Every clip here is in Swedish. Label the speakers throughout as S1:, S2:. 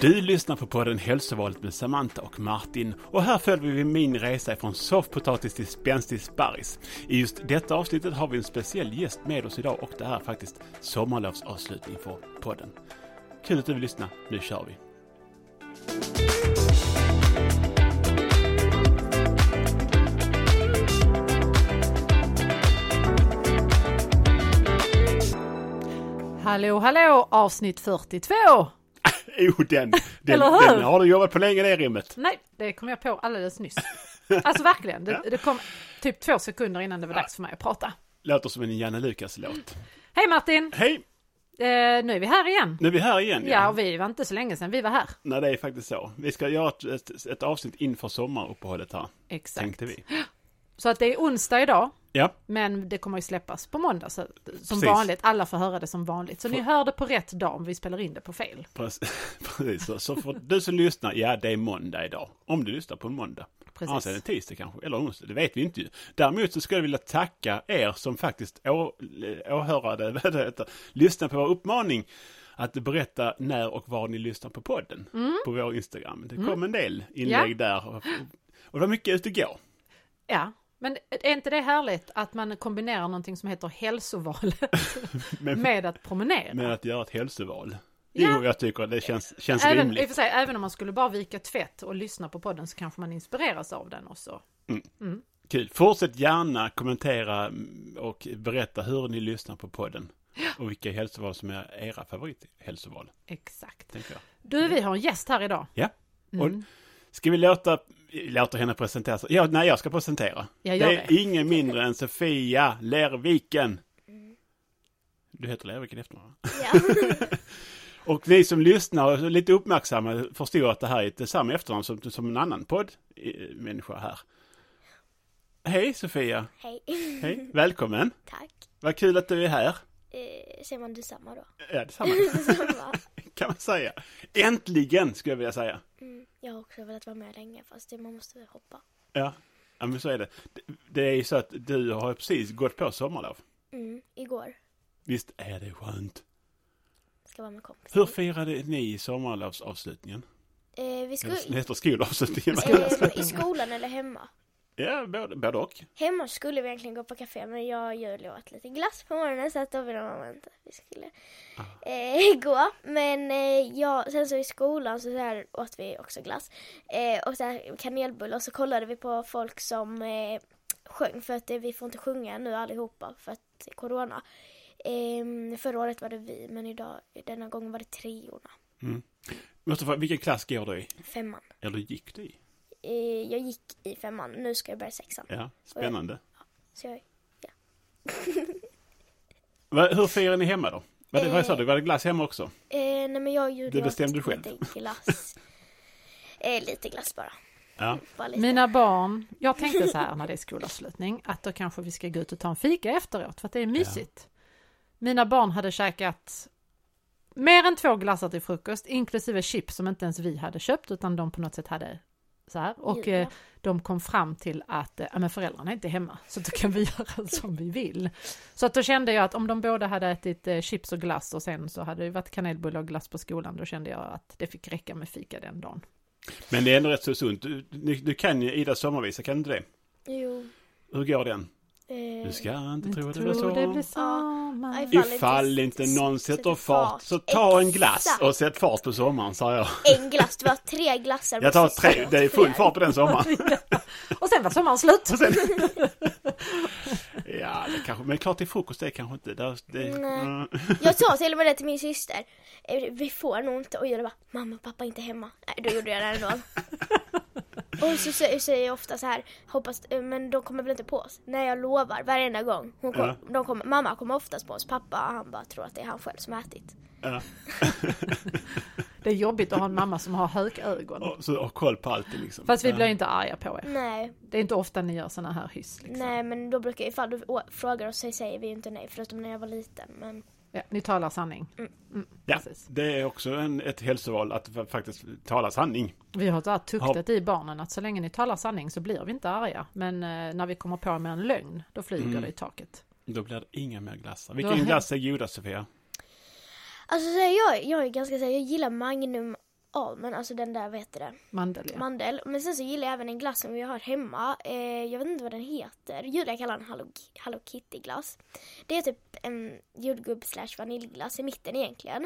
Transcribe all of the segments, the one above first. S1: Du lyssnar på podden Hälsovalet med Samantha och Martin och här följer vi min resa från soffpotatis till spänstig sparris. I just detta avsnittet har vi en speciell gäst med oss idag och det här är faktiskt sommarlovsavslutning för podden. Kul att du vill lyssna, nu kör vi!
S2: Hallå, hallå, avsnitt 42!
S1: Jo, den, den,
S2: Eller hur?
S1: den har du jobbat på länge det rimmet.
S2: Nej, det kom jag på alldeles nyss. Alltså verkligen, det, det kom typ två sekunder innan det var dags för mig att prata.
S1: Låter som en Janne Lukas-låt.
S2: Hej Martin!
S1: Hej!
S2: Eh, nu är vi här igen.
S1: Nu är vi här igen.
S2: Ja, och vi var inte så länge sedan vi var här.
S1: Nej, det är faktiskt så. Vi ska göra ett, ett, ett avsnitt inför sommaruppehållet här,
S2: Exakt.
S1: tänkte vi.
S2: Så att det är onsdag idag,
S1: Ja,
S2: men det kommer ju släppas på måndag. Så, som
S1: Precis.
S2: vanligt, alla får höra det som vanligt. Så ni hör det på rätt dag om vi spelar in det på fel.
S1: Precis, precis. Så, så för du som lyssnar, ja det är måndag idag. Om du lyssnar på en måndag.
S2: Precis.
S1: Annars är det tisdag kanske, eller onsdag, det vet vi inte ju. Däremot så skulle jag vilja tacka er som faktiskt å- eh, åhörade, vad det heter, lyssnade på vår uppmaning att berätta när och var ni lyssnar på podden
S2: Mm.
S1: på vår Instagram. Det kom en del inlägg där. Och, och det var mycket ute och gå.
S2: Ja, men är inte det härligt att man kombinerar någonting som heter hälsovalet
S1: Men-
S2: med att promenera?
S1: Men att göra ett hälsoval.
S2: Ja.
S1: Jo, jag tycker det känns, känns
S2: Även, i och
S1: rimligt.
S2: för sig, även om man skulle bara vika tvätt och lyssna på podden så kanske man inspireras av den också.
S1: Kul. Fortsätt gärna kommentera mm, och berätta hur ni lyssnar på podden. Och vilka hälsoval som är era favorithälsoval,
S2: Exakt.
S1: tänker jag.
S2: Du, vi har en gäst här idag.
S1: Ja.
S2: Mm.
S1: Och ska vi låta, låta henne presentera sig? Ja, nej, jag ska presentera.
S2: Ja,
S1: det
S2: gör
S1: är
S2: det.
S1: ingen mindre än Sofia Lerviken. Du heter Lerviken i efternamn, va?
S3: Ja.
S1: Och ni som lyssnar och är lite uppmärksamma förstår att det här är ett samma efternamn som, som en annan poddmänniska här. Hej Sofia!
S3: Hej.
S1: Hej! Välkommen!
S3: Tack.
S1: Vad kul att du är här.
S3: Eh, säger man detsamma då?
S1: Ja, detsamma
S3: Detsamma.
S1: kan man säga. Äntligen skulle jag vilja säga.
S3: Mm. Jag har också velat vara med länge fast det, man måste väl hoppa.
S1: Ja, ja men så är det. Det- Det är ju så att du har precis gått på sommarlov.
S3: Mm. Igår.
S1: Visst är det skönt?
S3: Ska vara med kompisar.
S1: Hur firade ni sommarlovsavslutningen?
S3: Eh, vi skulle...
S1: Eller det heter skolavslutningen.
S3: Eh, I skolan eller hemma?
S1: Ja, både, både och.
S3: Hemma skulle vi egentligen gå på café men jag och Julia åt lite glass på morgonen så att då ville mamma inte att vi skulle eh, gå. Men eh, jag, sen så i skolan så, så här åt vi också glass eh, och så här kanelbullar och så kollade vi på folk som eh, sjöng för att eh, vi får inte sjunga nu allihopa för att corona. Eh, förra året var det vi men idag, denna gången var det treorna,
S1: Måste fråga, vilken klass går du i?
S3: femman.
S1: Eller gick du i?
S3: Eh, jag gick i femman, nu ska jag börja sexan.
S1: Ja, spännande.
S3: Så jag,
S1: Va, hur firade ni hemma då? Var det, vad sa du? Var det glass hemma också?
S3: Eh, nej men jag gjorde
S1: Det bestämde
S3: åt
S1: du själv.
S3: lite glass. eh, lite glass bara.
S1: Ja.
S3: bara lite.
S2: Mina barn, jag tänkte så här när det är skolavslutning, att då kanske vi ska gå ut och ta en fika efteråt, för att det är mysigt. Mina barn hade käkat mer än två glassar till frukost, inklusive chips som inte ens vi hade köpt, utan de på något sätt hade så här. Och
S3: Julia.
S2: eh, de kom fram till att eh, ja, men föräldrarna är inte hemma, så då kan vi göra som vi vill. Så att då kände jag att om de båda hade ätit eh, chips och glass och sen så hade det varit kanelbullar och glass på skolan, då kände jag att det fick räcka med fika den dagen.
S1: Men det är ändå rätt så sunt. Du, du, du kan ju Idas sommarvisa, kan du inte det?
S3: Jo.
S1: Hur går den?
S3: Eh,
S1: Du ska inte tro
S2: Inte
S1: att det blir
S2: tro
S1: så.
S2: det blir sommar.
S3: Aj,
S1: Ifall inte någon sätter fart så ta en glass
S3: Exakt.
S1: och sätt fart på sommaren, sa jag.
S3: eh, En glass, du har tre glassar.
S1: Jag tar
S3: precis.
S1: tre, det är full fart på den sommaren.
S2: Och sen var sommaren slut.
S1: Och sen... Ja, det kanske, men klart till frukost det är kanske inte. Det, det, Mm.
S3: Nej. Jag sa till och med det till min syster. Eh, Vi får nog inte. Och Julia bara, mamma och pappa är inte hemma. Nej, då gjorde jag det ändå. och så sä- säger jag ofta så här, hoppas, eh, men de kommer väl inte på oss? Nej, jag lovar, varenda gång. Hon kom,
S1: Ja.
S3: de kommer, mamma kommer oftast på oss, pappa han bara tror att det är han själv som har ätit.
S1: ja.
S2: Det är jobbigt att ha en mamma som har hökögon.
S1: och, så, och koll på allt liksom.
S2: Fast vi blir
S1: Ja.
S2: inte arga på er.
S3: Nej,
S2: Det är inte ofta ni gör såna här hyss. Liksom.
S3: Nej men då brukar ifall du å- frågar oss så säger vi ju inte nej förutom när jag var liten. Men
S2: Ja, ni talar sanning. Mm,
S1: Ja,
S2: precis.
S1: det är också en, ett hälsoval att fa- faktiskt tala sanning.
S2: Vi har så här tuktat i barnen att så länge ni talar sanning så blir vi inte arga. Men eh, när vi kommer på med en lögn, då flyger
S1: Mm.
S2: det i taket.
S1: Då blir det inga mer glassar.
S2: Då-
S1: Vilken glass är godast, Sofia?
S3: alltså så här, jag, jag är ganska såhär, jag gillar Magnum almond, alltså den där, vad heter det?
S2: Mandel, ja.
S3: mandel. Men sen så gillar jag även en glass som vi har hemma. Eh, jag vet inte vad den heter. Julia kallar den Hello, Hello Kitty-glass. Det är typ en jordgubb slash vaniljglass i mitten egentligen.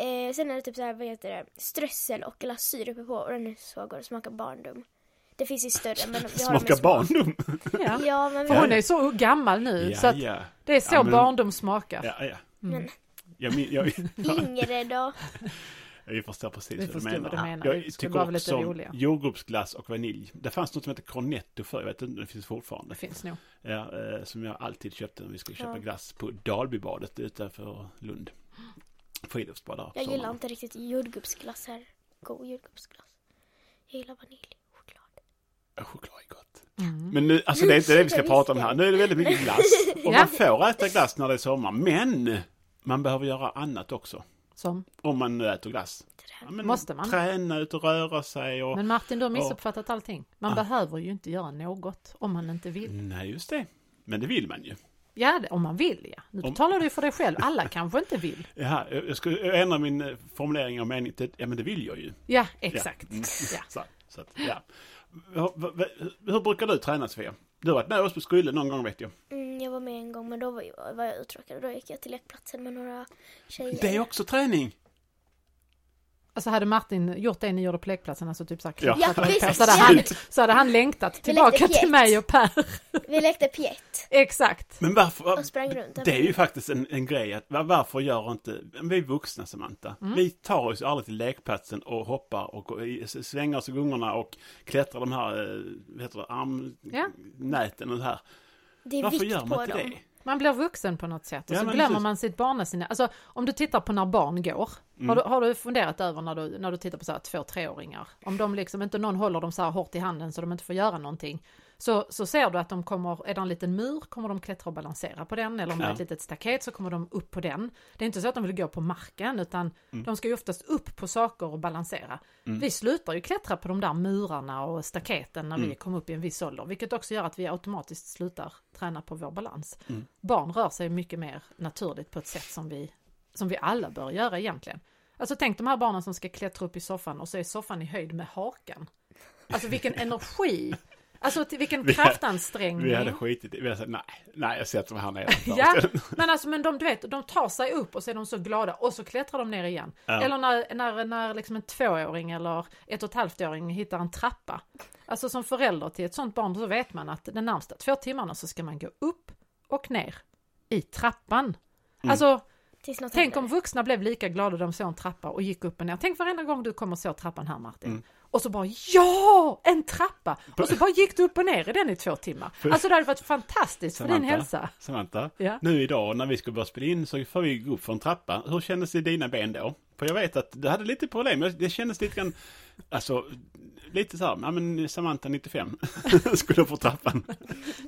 S3: Eh, sen är det typ så här, vad heter det, strössel och glasyr uppe på och den är så god, smakar barndom. Det finns ju större men vi har dem i
S1: Smaka
S3: små.
S1: barndom!
S2: ja.
S3: Ja men vi
S2: För
S1: Ja.
S3: har
S2: hon är så gammal nu Mm. så
S1: Ja,
S2: att Mm.
S1: ja.
S2: det är så
S1: Ja, men-
S2: barndom smakar.
S1: ja, ja.
S3: Men-
S1: Jag, min- jag,
S3: yngre då.
S1: jag förstår precis
S2: Vi
S1: vad du
S2: förstår
S1: menar.
S2: vad du menar. Vi
S1: Jag
S2: skulle
S1: tycker
S2: bara vara
S1: också
S2: lite
S1: om
S2: roliga.
S1: jordgubbsglass och vanilj. Det fanns något som hette Cornetto förr, jag vet inte, det finns fortfarande.
S2: Det finns nog.
S1: Ja, eh, som jag alltid köpte när vi skulle köpa
S3: Ja.
S1: glass på Dalbybadet utanför Lund. Friluftsbad där. på
S3: Jag gillar
S1: sommaren.
S3: inte riktigt jordgubbsglass här. God jordgubbsglass. Jag gillar vanilj, choklad.
S1: Ja, Choklad är gott.
S2: Mm.
S1: Men nu, alltså det är inte det vi ska
S3: Jag
S1: prata om
S3: visste.
S1: här. Nu är det väldigt mycket glass. Och
S2: Ja.
S1: man får äta glass när det är sommar. Men man behöver göra annat också.
S2: Som.
S1: Om man nu äter glass. Ja, men
S2: Måste man?
S1: Träna ut och röra sig och...
S2: Men Martin, du har missuppfattat allting. Man behöver ju inte göra något om man inte vill.
S1: Nej, just det. Men det vill man ju.
S2: Ja, det- om man vill ja. Nu
S1: Om-
S2: talar du ju för dig själv. Alla kanske inte vill.
S1: Ja, jag jag skulle ändra min eh, formulering och mening till, ja men det vill jag ju.
S2: Ja, exakt.
S1: Mm.
S2: Ja.
S1: Så, så att, ja. Hur, hur, hur brukar du träna Sofia? Du har varit med oss på Skulle någon gång vet jag.
S3: Mm, jag var med en gång men då var jag, var jag uttråkad och då gick jag till lekplatsen med några tjejer.
S1: Det är också träning!
S2: Alltså hade Martin gjort det ni gjorde på lekplatsen, alltså typ så här
S1: Ja.
S3: Ja,
S2: knäppar,
S3: precis.
S2: så, hade han,
S1: Absolut.
S2: så hade han längtat tillbaka
S3: lekte
S2: till mig och Per.
S3: Vi lekte pjätt
S2: Exakt.
S1: Men varför?
S3: och sprang runt.
S1: Det är ju faktiskt en, en grej att var- varför gör inte vi vuxna Samantha?
S3: Mm.
S1: Vi tar oss aldrig till lekplatsen och hoppar och går i- s- svänger oss i gungorna och klättrar de här eh, vad heter det,
S2: Ja.
S1: armnäten och det här.
S3: Det är
S1: Varför
S3: vikt
S1: gör man
S3: på
S1: inte
S3: dem.
S1: det?
S2: Man blir vuxen på något sätt och
S1: Ja,
S2: så
S1: men
S2: glömmer
S1: precis.
S2: man sitt barnasinne. Alltså om du tittar på när barn går.
S1: Mm.
S2: Har, du, har du funderat över när du, när du tittar på så här två treåringar? Om de liksom inte någon håller dem så här hårt i handen så de inte får göra någonting. Så, så ser du att de kommer, är det en liten mur kommer de klättra och balansera på den. Eller om det är
S1: Ja.
S2: ett litet staket så kommer de upp på den. Det är inte så att de vill gå på marken utan
S1: Mm.
S2: de ska ju oftast upp på saker och balansera. Vi slutar ju klättra på de där murarna och staketen när
S1: Mm.
S2: vi kom upp i en viss ålder. Vilket också gör att vi automatiskt slutar träna på vår balans.
S1: Mm.
S2: Barn rör sig mycket mer naturligt på ett sätt som vi, som vi alla bör göra egentligen. Alltså tänk de här barnen som ska klättra upp i soffan och så är soffan i höjd med hakan. Alltså vilken energi! Alltså till vilken
S1: Vi-
S2: kraftansträngning!
S1: Vi hade skitit i- vi hade sagt nej, nej jag sätter mig här nere.
S2: Ja, men alltså men de, du vet, de tar sig upp och så är de så glada och så klättrar de ner igen. Eller när, när, när liksom en tvååring eller ett och ett halvt-åring hittar en trappa. Alltså som förälder till ett sånt barn så vet man att de närmsta två timmarna så ska man gå upp och ner i trappan. Alltså,
S3: Tills något
S2: tänk om
S3: händer.
S2: vuxna blev lika glada de såg en trappa och gick upp och ner. Tänk varenda gång du kommer så trappan här Martin. Och så bara ja, en trappa! Och så bara gick du upp och ner i den i två timmar. Alltså det hade varit fantastiskt för din hälsa.
S1: Samantha,
S2: Ja.
S1: nu idag när vi ska börja spela in så får vi gå upp för en trappa. Hur kändes det i dina ben då? För jag vet att du hade lite problem. Jag- Det kändes lite grann, alltså, lite så här, ja men Samantha 95 skulle upp för trappan.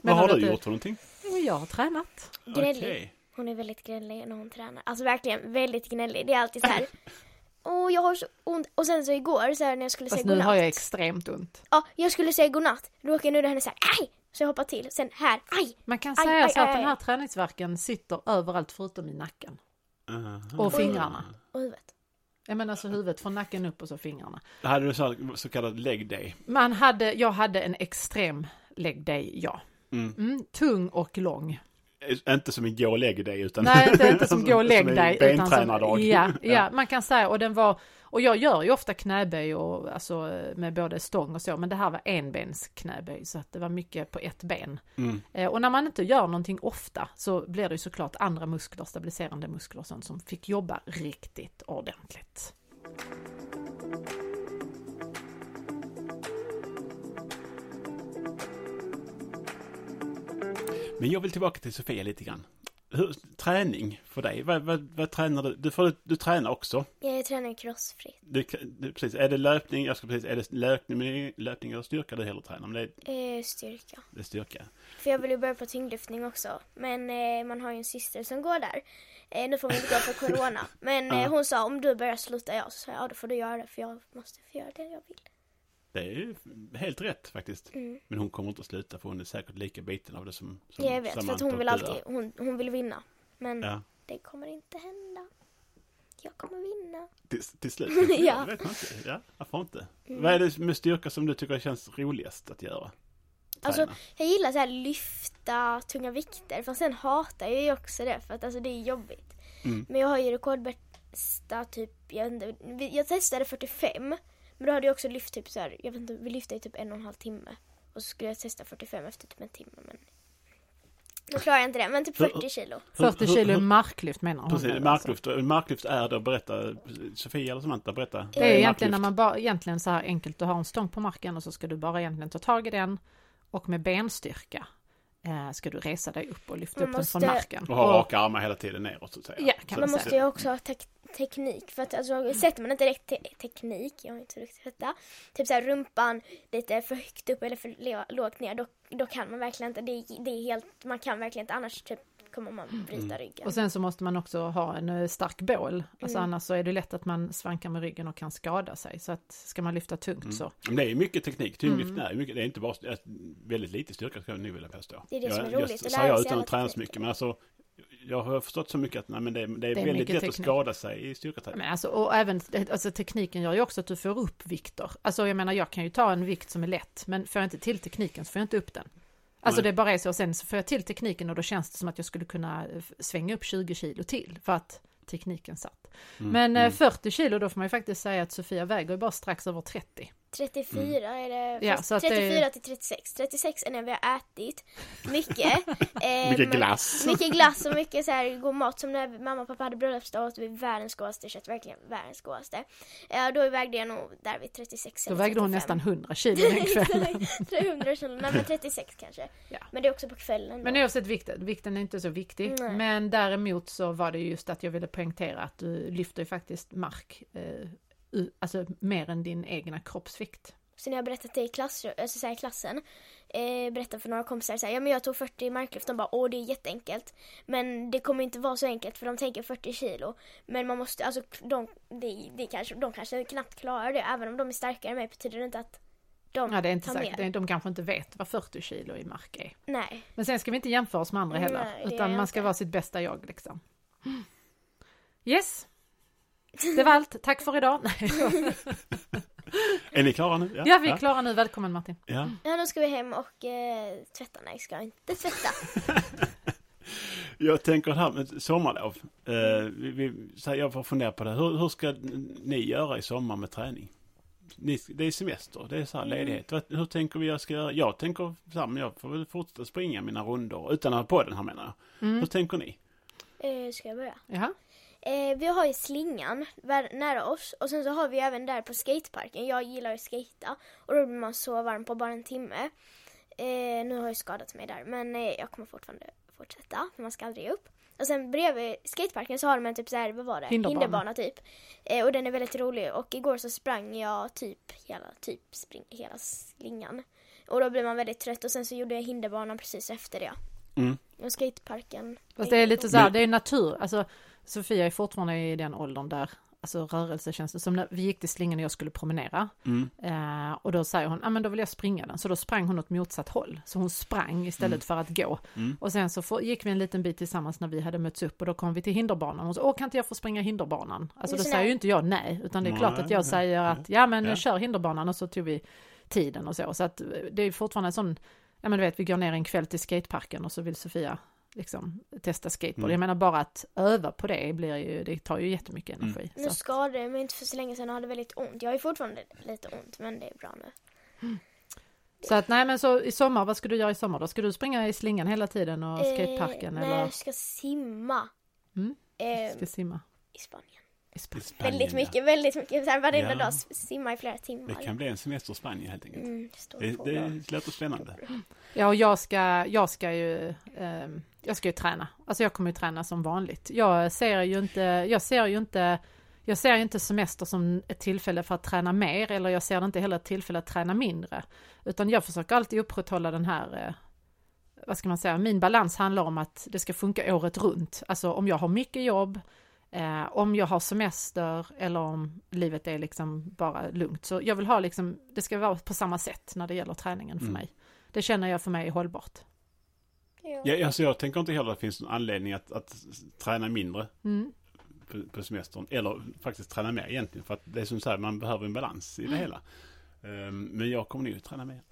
S1: Vad har
S2: har
S1: du
S2: du-
S1: gjort för någonting?
S2: Jo, Jag har tränat.
S3: Gnällig.
S1: Okej.
S3: Hon är väldigt gnällig när hon tränar. Alltså verkligen väldigt gnällig. Det är alltid så här. Åh, jag har så ont. Och sen så igår så här, när jag skulle
S2: Fast
S3: säga
S2: nu
S3: godnatt.
S2: har jag extremt ont.
S3: Ja, jag skulle säga godnatt. Råkar nu henne så här. Aj! Så jag hoppar till. Sen här. Aj!
S2: Man kan
S3: Aj,
S2: säga
S3: aj,
S2: så att
S3: aj.
S2: den här träningsverken sitter överallt förutom i nacken
S1: Aha.
S2: och fingrarna.
S3: Och huvudet.
S2: Jag menar alltså huvudet från nacken upp och så fingrarna.
S1: Hade du så, här, så kallad leg day?
S2: Man hade, jag hade en extrem leg day, ja.
S1: Mm.
S2: Mm, tung och lång.
S1: Eh, Inte som en gå och lägg dig utan...
S2: Nej, inte, inte som gå och lägg
S1: en
S2: dig. utan som-
S1: Bentränardag.
S2: Ja, ja, man kan säga och den var, och jag gör ju ofta knäböj och alltså med både stång och så, men det här var enbens knäböj så att det var mycket på ett ben.
S1: Mm.
S2: Eh, Och när man inte gör någonting ofta så blir det ju såklart andra muskler, stabiliserande muskler och sånt som fick jobba riktigt ordentligt.
S1: Men jag vill tillbaka till Sofia lite grann. Hur, träning för dig, vad, vad, vad tränar du? Du, får, du tränar också.
S3: Jag tränar crossfit.
S1: Du, du, precis, är det löpning, jag ska precis, är det löpning, löpning eller styrka du hellre tränar? Men det är,
S3: Eh, styrka.
S1: det är styrka.
S3: För jag vill ju börja på tyngdlyftning också. Men eh, man har ju en syster som går där. Eh, nu får vi inte gå för corona. Men eh, hon sa om du börjar sluta jag. Så sa jag ja då får du göra det. För jag måste få göra det jag vill.
S1: Det är ju helt rätt faktiskt.
S3: Mm.
S1: Men hon kommer inte att sluta för hon är säkert lika biten av det som, som
S3: Jag vet. För att
S1: Mm, Samantha
S3: hon vill
S1: och du är.
S3: alltid, hon, hon vill vinna. Men
S1: Ja.
S3: det kommer inte hända. jag kommer vinna.
S1: Till, till slut?
S3: Ja.
S1: Vet man inte. Ja, varför inte?
S3: Mm.
S1: Vad är det med styrka som du tycker känns roligast att göra?
S3: Alltså,
S1: Träna.
S3: jag gillar så här lyfta tunga vikter, för sen hatar jag ju också det för att alltså, det är jobbigt.
S1: Mm.
S3: Men jag har ju rekordbästa typ, jag, vet inte, vi- jag testade 45, men då hade jag också lyft typ så här, jag vet inte, vi lyfte i typ en och en halv timme. Och så skulle jag testa 45 efter typ en timme, men då klarar jag inte det. Men typ
S1: Hur-
S3: 40 kilo.
S1: Hur-
S2: 40 kilo
S1: hur- hur-
S2: marklyft menar hon.
S1: Precis,
S2: väl, alltså.
S1: marklyft. Och Marklyft är då, berätta, Sofia eller Samantha, berätta.
S2: Det är
S1: Marklyft.
S2: egentligen när man bara, egentligen så här enkelt, du har en stång på marken och så ska du bara egentligen ta tag i den och med benstyrka eh, ska du resa dig upp och lyfta
S3: Man
S2: upp den från
S3: måste-
S2: marken.
S1: Och ha raka armar hela tiden neråt så att säga.
S2: Ja, kan
S1: Så-
S3: Man
S2: man
S3: måste
S2: säga.
S3: ju också ha tek teknik. För att alltså, sätter man inte rätt te teknik, jag är inte så duktig på detta, typ så här rumpan lite för högt upp eller för le- lågt ner, då, då kan man verkligen inte. Det, är- det är helt, man kan verkligen inte, annars typ kommer man bryta ryggen.
S2: Mm. Och sen så måste man också ha en eh, stark bål, alltså
S3: Mm.
S2: annars så är det lätt att man svankar med ryggen och kan skada sig. Så att ska man lyfta tungt så.
S1: Men det är mycket teknik, tyngdlyftning är ju mycket, det är inte bara, det är väldigt lite styrka skulle jag nu vilja påstå.
S3: Det är det
S1: jag,
S3: som är
S1: jag,
S3: roligt, att lära
S1: säger jag
S3: sig
S1: utan
S3: alla
S1: att träna så
S3: tekniker.
S1: mycket, men alltså jag har förstått så mycket att nej, men det, är- det är väldigt
S2: mycket
S1: lätt att
S2: teknik.
S1: skada sig i styrkaträning.
S2: Men alltså, och även alltså, tekniken gör ju också att du får upp vikter. Alltså jag menar jag kan ju ta en vikt som är lätt men får jag inte till tekniken så får jag inte upp den. Alltså
S1: Nej.
S2: det bara är så och sen så får jag till tekniken och då känns det som att jag skulle kunna eh, svänga upp 20 kilo till för att tekniken satt. men eh, 40 kilo då får man ju faktiskt säga att Sofia väger ju bara strax över 30.
S3: 34 är det,
S2: Mm. Ja,
S3: fast
S2: så att det är-
S3: 34 till 36. 36 är när vi har ätit mycket. eh,
S1: Mycket
S3: men-
S1: glass.
S3: Mycket glass och mycket så här god mat. Som när mamma och pappa hade bröllopsdag åt vi världens godaste kött, verkligen världens godaste. Eh, då vägde jag nog där vid 36
S2: Då
S3: eller
S2: vägde hon
S3: 35.
S2: nästan 100 kilo den kvällen.
S3: 300 kilo, nej men 36 kanske.
S2: Typ. Ja.
S3: Men det är också på kvällen. då.
S2: Men oavsett vikten, vikten är inte så viktig.
S3: Nej.
S2: Men däremot så var det just att jag ville poängtera att du lyfter ju faktiskt mark, eh, u- alltså mer än din egna kroppsvikt.
S3: Så när jag berättat det i, klass, alltså så här i klassen, eh, berättade för några kompisar så här, ja men jag tog 40 marklyft, de bara åh det är jätteenkelt. Men det kommer inte vara så enkelt för de tänker 40 kilo. Men man måste, alltså de, de, de, kanske, de kanske knappt klarar det, även om de är starkare än mig betyder det inte att de
S2: Ja, det är inte
S3: tar
S2: säkert,
S3: mer.
S2: de, de kanske inte vet vad 40 kilo i mark är.
S3: Nej.
S2: Men sen ska vi inte jämföra oss med andra heller,
S3: Nej, det
S2: utan
S3: är
S2: man ska
S3: inte.
S2: vara sitt bästa jag liksom. Mm. Yes, det var allt. Tack för idag.
S1: Är ni klara nu?
S2: Ja, vi är klara nu. Välkommen Martin.
S1: Ja.
S3: Ja nu ska vi hem och eh, tvätta. Nej, ska jag inte tvätta.
S1: Jag tänker det här med sommarlov. Eh, vi, vi, så här, jag får fundera på det. Hur, hur ska ni göra i sommar med träning? Ni, det är semester, det är så här ledighet. Vad- Hur tänker vi jag ska göra? Jag tänker så här, men jag får väl fortsätta springa mina rundor utan att ha på den här menar jag. Hur tänker ni?
S3: eh, ska jag börja?
S2: Jaha.
S3: Eh, vi har ju slingan vär- nära oss och sen så har vi även där på skateparken. Jag gillar ju att skata och då blir man så varm på bara en timme. Eh, nu har jag ju skadat mig där men eh, jag kommer fortfarande fortsätta för man ska aldrig ge upp. Och sen bredvid skateparken så har de en typ så här, vad var det?
S2: Hinderbana.
S3: typ. Eh, och den är väldigt rolig och igår så sprang jag typ hela, typ spring, hela slingan. Och då blev man väldigt trött och sen så gjorde jag hinderbanan precis efter det.
S1: Mm.
S3: Och skateparken.
S2: Fast det är lite så här,
S1: Men-
S2: det är natur, alltså Sofia är fortfarande i den åldern där, alltså rörelse känns det som när vi gick till slingan och jag skulle promenera
S1: Mm.
S2: eh, och då säger hon, ja ah, men då vill jag springa den, så då sprang hon åt motsatt håll, så hon sprang istället för att gå
S1: Mm.
S2: och sen så får, gick vi en liten bit tillsammans när vi hade mötts upp och då kom vi till hinderbanan och hon sa, åh kan inte jag få springa hinderbanan? Alltså då
S3: Det är så
S2: säger
S3: där.
S2: ju inte jag nej, utan det är
S1: Nej,
S2: klart att jag
S1: nej,
S2: säger att, ja men
S1: Ja.
S2: kör hinderbanan och så tog vi tiden och så, så att eh, det är fortfarande en sån, ja men du vet vi går ner en kväll till skateparken och så vill Sofia liksom testa skateboard.
S1: Mm.
S2: Jag menar bara att öva på det blir ju, det tar ju jättemycket energi.
S3: Nu
S1: Mm.
S2: Så att,
S3: skadade jag mig inte för så länge sedan och hade väldigt ont. Jag har ju fortfarande lite ont men det är bra nu.
S2: så att nej men så i sommar, vad ska du göra i sommar då? Ska du springa i slingan hela tiden och skateparken
S3: eh, Nej,
S2: eller
S3: jag ska simma.
S2: Mm.
S3: Eh,
S2: ska simma?
S3: I Spanien.
S2: I
S1: I
S2: Spanien?
S1: Spanien,
S3: Väldigt
S1: ja.
S3: mycket, väldigt mycket. Så här, varenda
S1: Ja.
S3: dag s- simma i flera timmar.
S1: Det kan bli en semester i Spanien helt enkelt.
S3: mm, det står
S1: Det,
S3: på.
S1: det låter spännande.
S2: Ja och jag ska, jag ska ju, ehm, jag ska ju träna. Alltså jag kommer ju träna som vanligt. Jag ser ju inte, jag ser ju inte jag ser ju inte semester som ett tillfälle för att träna mer eller jag ser det inte heller ett tillfälle att träna mindre. Utan jag försöker alltid upprätthålla den här, eh, vad ska man säga, min balans handlar om att det ska funka året runt. Alltså om jag har mycket jobb, eh, om jag har semester eller om livet är liksom bara lugnt. Så jag vill ha liksom, det ska vara på samma sätt när det gäller träningen för
S1: Mm.
S2: mig. Det känner jag för mig är hållbart.
S3: Ja.
S1: Ja, alltså, jag tänker inte heller att det finns någon anledning att, att träna mindre.
S2: Mm.
S1: på, på semestern. Eller faktiskt träna mer egentligen. För att det är som så här, man behöver en balans i
S3: Mm.
S1: det hela. Ehm, Men jag kommer nog träna mer.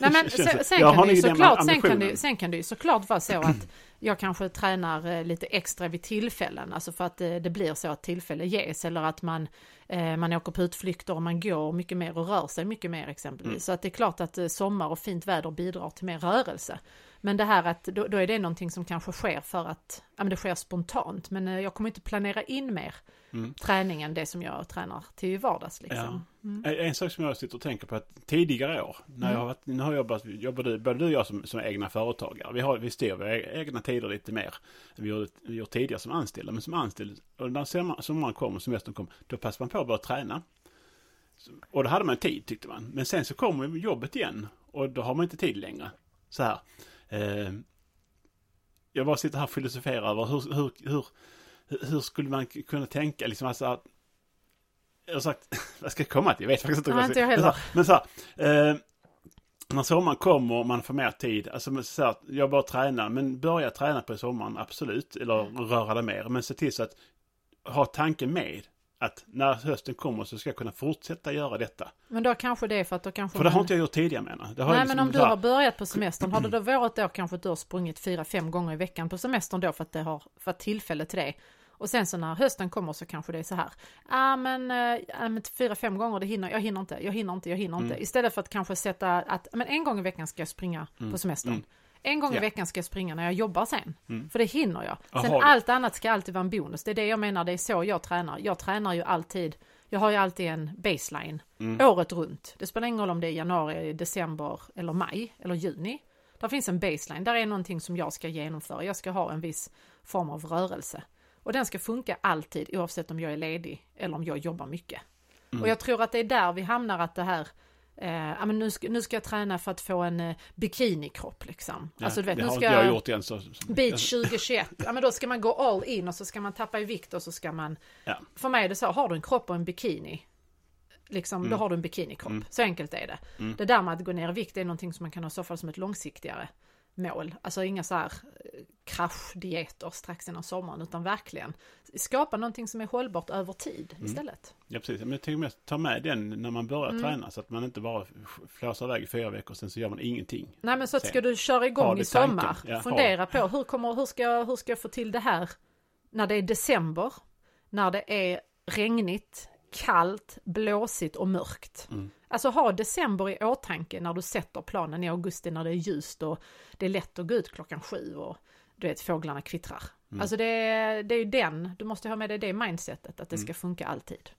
S2: Nej, men
S1: Känns
S2: sen,
S1: det-
S2: sen,
S1: Jag
S2: kan
S1: har
S2: det ju
S1: ju den
S2: såklart, sen, kan
S1: ambitionen.
S2: det, ju- sen kan det ju såklart vara så att jag kanske tränar eh, lite extra vid tillfällen, alltså för att eh, det blir så att tillfälle ges eller att man, eh, man åker på utflykter och man går mycket mer och rör sig mycket mer exempelvis.
S1: Mm.
S2: Så att det är klart att eh, sommar och fint väder bidrar till mer rörelse. Men det här att då, då är det någonting som kanske sker för att ja, men det sker spontant, men eh, jag kommer inte planera in mer
S1: Mm.
S2: träning än det som jag tränar till vardags. Liksom.
S1: En- En sak som jag sitter och tänker på att tidigare år, när jag har varit, nu har jag jobbat, jobbade, både du och jag som, som egna företagare, vi, har, vi styr våra e- egna tider lite mer. Vi gjorde, vi gjorde tidigare som anställda, men som anställd, och när sommar- sommaren kom och semestern kom, då passade man på att börja träna. Så- Och då hade man tid tyckte man, men sen så kommer ju jobbet igen och då har man inte tid längre. Så här. Eh, jag bara sitter här och filosoferar över hur, hur, hur, hur skulle man k- kunna tänka liksom alltså att jag har sagt, vad ska jag komma till? Jag vet faktiskt inte. vad
S2: Nej, inte jag
S1: ska- Men så här, men så här eh, när sommaren kommer och man får mer tid, alltså men så här, jag bara tränar, men börja träna på sommaren, absolut, eller röra dig mer, men se till så att ha tanken med att när hösten kommer så ska jag kunna fortsätta göra detta.
S2: Men då kanske det är för att då kanske
S1: För det har
S2: man-
S1: inte jag gjort tidigare menar jag. Det har
S2: Mm. Nej
S1: jag liksom
S2: men om du
S1: så här-
S2: har börjat på semestern, har det då varit då kanske att du har sprungit fyra, fem gånger i veckan på semestern då för att det har för att tillfälle till det. Och sen så när hösten kommer så kanske det är så här. ah, men, eh, ja, men fyra, fem gånger, det hinner, jag hinner inte, jag hinner inte, jag hinner
S1: Mm.
S2: inte. Istället för att kanske sätta att men en gång i veckan ska jag springa
S1: Mm.
S2: på semestern. En gång i
S1: Ja.
S2: veckan ska jag springa när jag jobbar sen. För det hinner jag. Sen
S1: Aha.
S2: allt annat ska alltid vara en bonus. Det är det jag menar, det är så jag tränar. Jag tränar ju alltid, jag har ju alltid en baseline året runt. Det spelar ingen roll om det är januari, december eller maj eller juni. Där finns en baseline, där är någonting som jag ska genomföra. Jag ska ha en viss form av rörelse. Och den ska funka alltid oavsett om jag är ledig eller om jag jobbar mycket.
S1: Mm.
S2: Och jag tror att det är där vi hamnar att det här Eh, ja, men nu, ska, nu ska jag träna för att få en eh, bikinikropp liksom.
S1: Ja,
S2: alltså du vet,
S1: det
S2: nu
S1: har
S2: ska
S1: inte jag gjort än så.
S2: Beach 2021, ja men då ska man gå all in och så ska man tappa i vikt och så ska man...
S1: Ja.
S2: För mig är det så, har du en kropp och en bikini, liksom, då har du en bikinikropp. Så enkelt är det. Det där med att gå ner i vikt är någonting som man kan ha i så fall som ett långsiktigare mål. Alltså inga så här eh, kraschdieter strax innan sommaren, utan verkligen skapa någonting som är hållbart över tid istället.
S1: Ja, precis. Men jag tänker mest ta med den när man börjar träna så att man inte bara f- flåsar iväg i fyra veckor och sen så gör man ingenting.
S2: Nej men så att
S1: Sen.
S2: ska du köra
S1: Har
S2: igång
S1: du
S2: i sommar,
S1: tanken? Ja, har.
S2: fundera på hur, kommer, hur, ska, jag- hur ska jag få till det här när det är december, när det är regnigt, kallt, blåsigt och mörkt.
S1: Mm.
S2: Alltså ha december i åtanke när du sätter planen i augusti när det är ljust och det är lätt att gå ut klockan sju och du vet fåglarna kvittrar.
S1: Mm.
S2: Alltså det, är- det är ju den, du måste ha med dig det mindsetet att det
S1: Mm.
S2: ska funka alltid.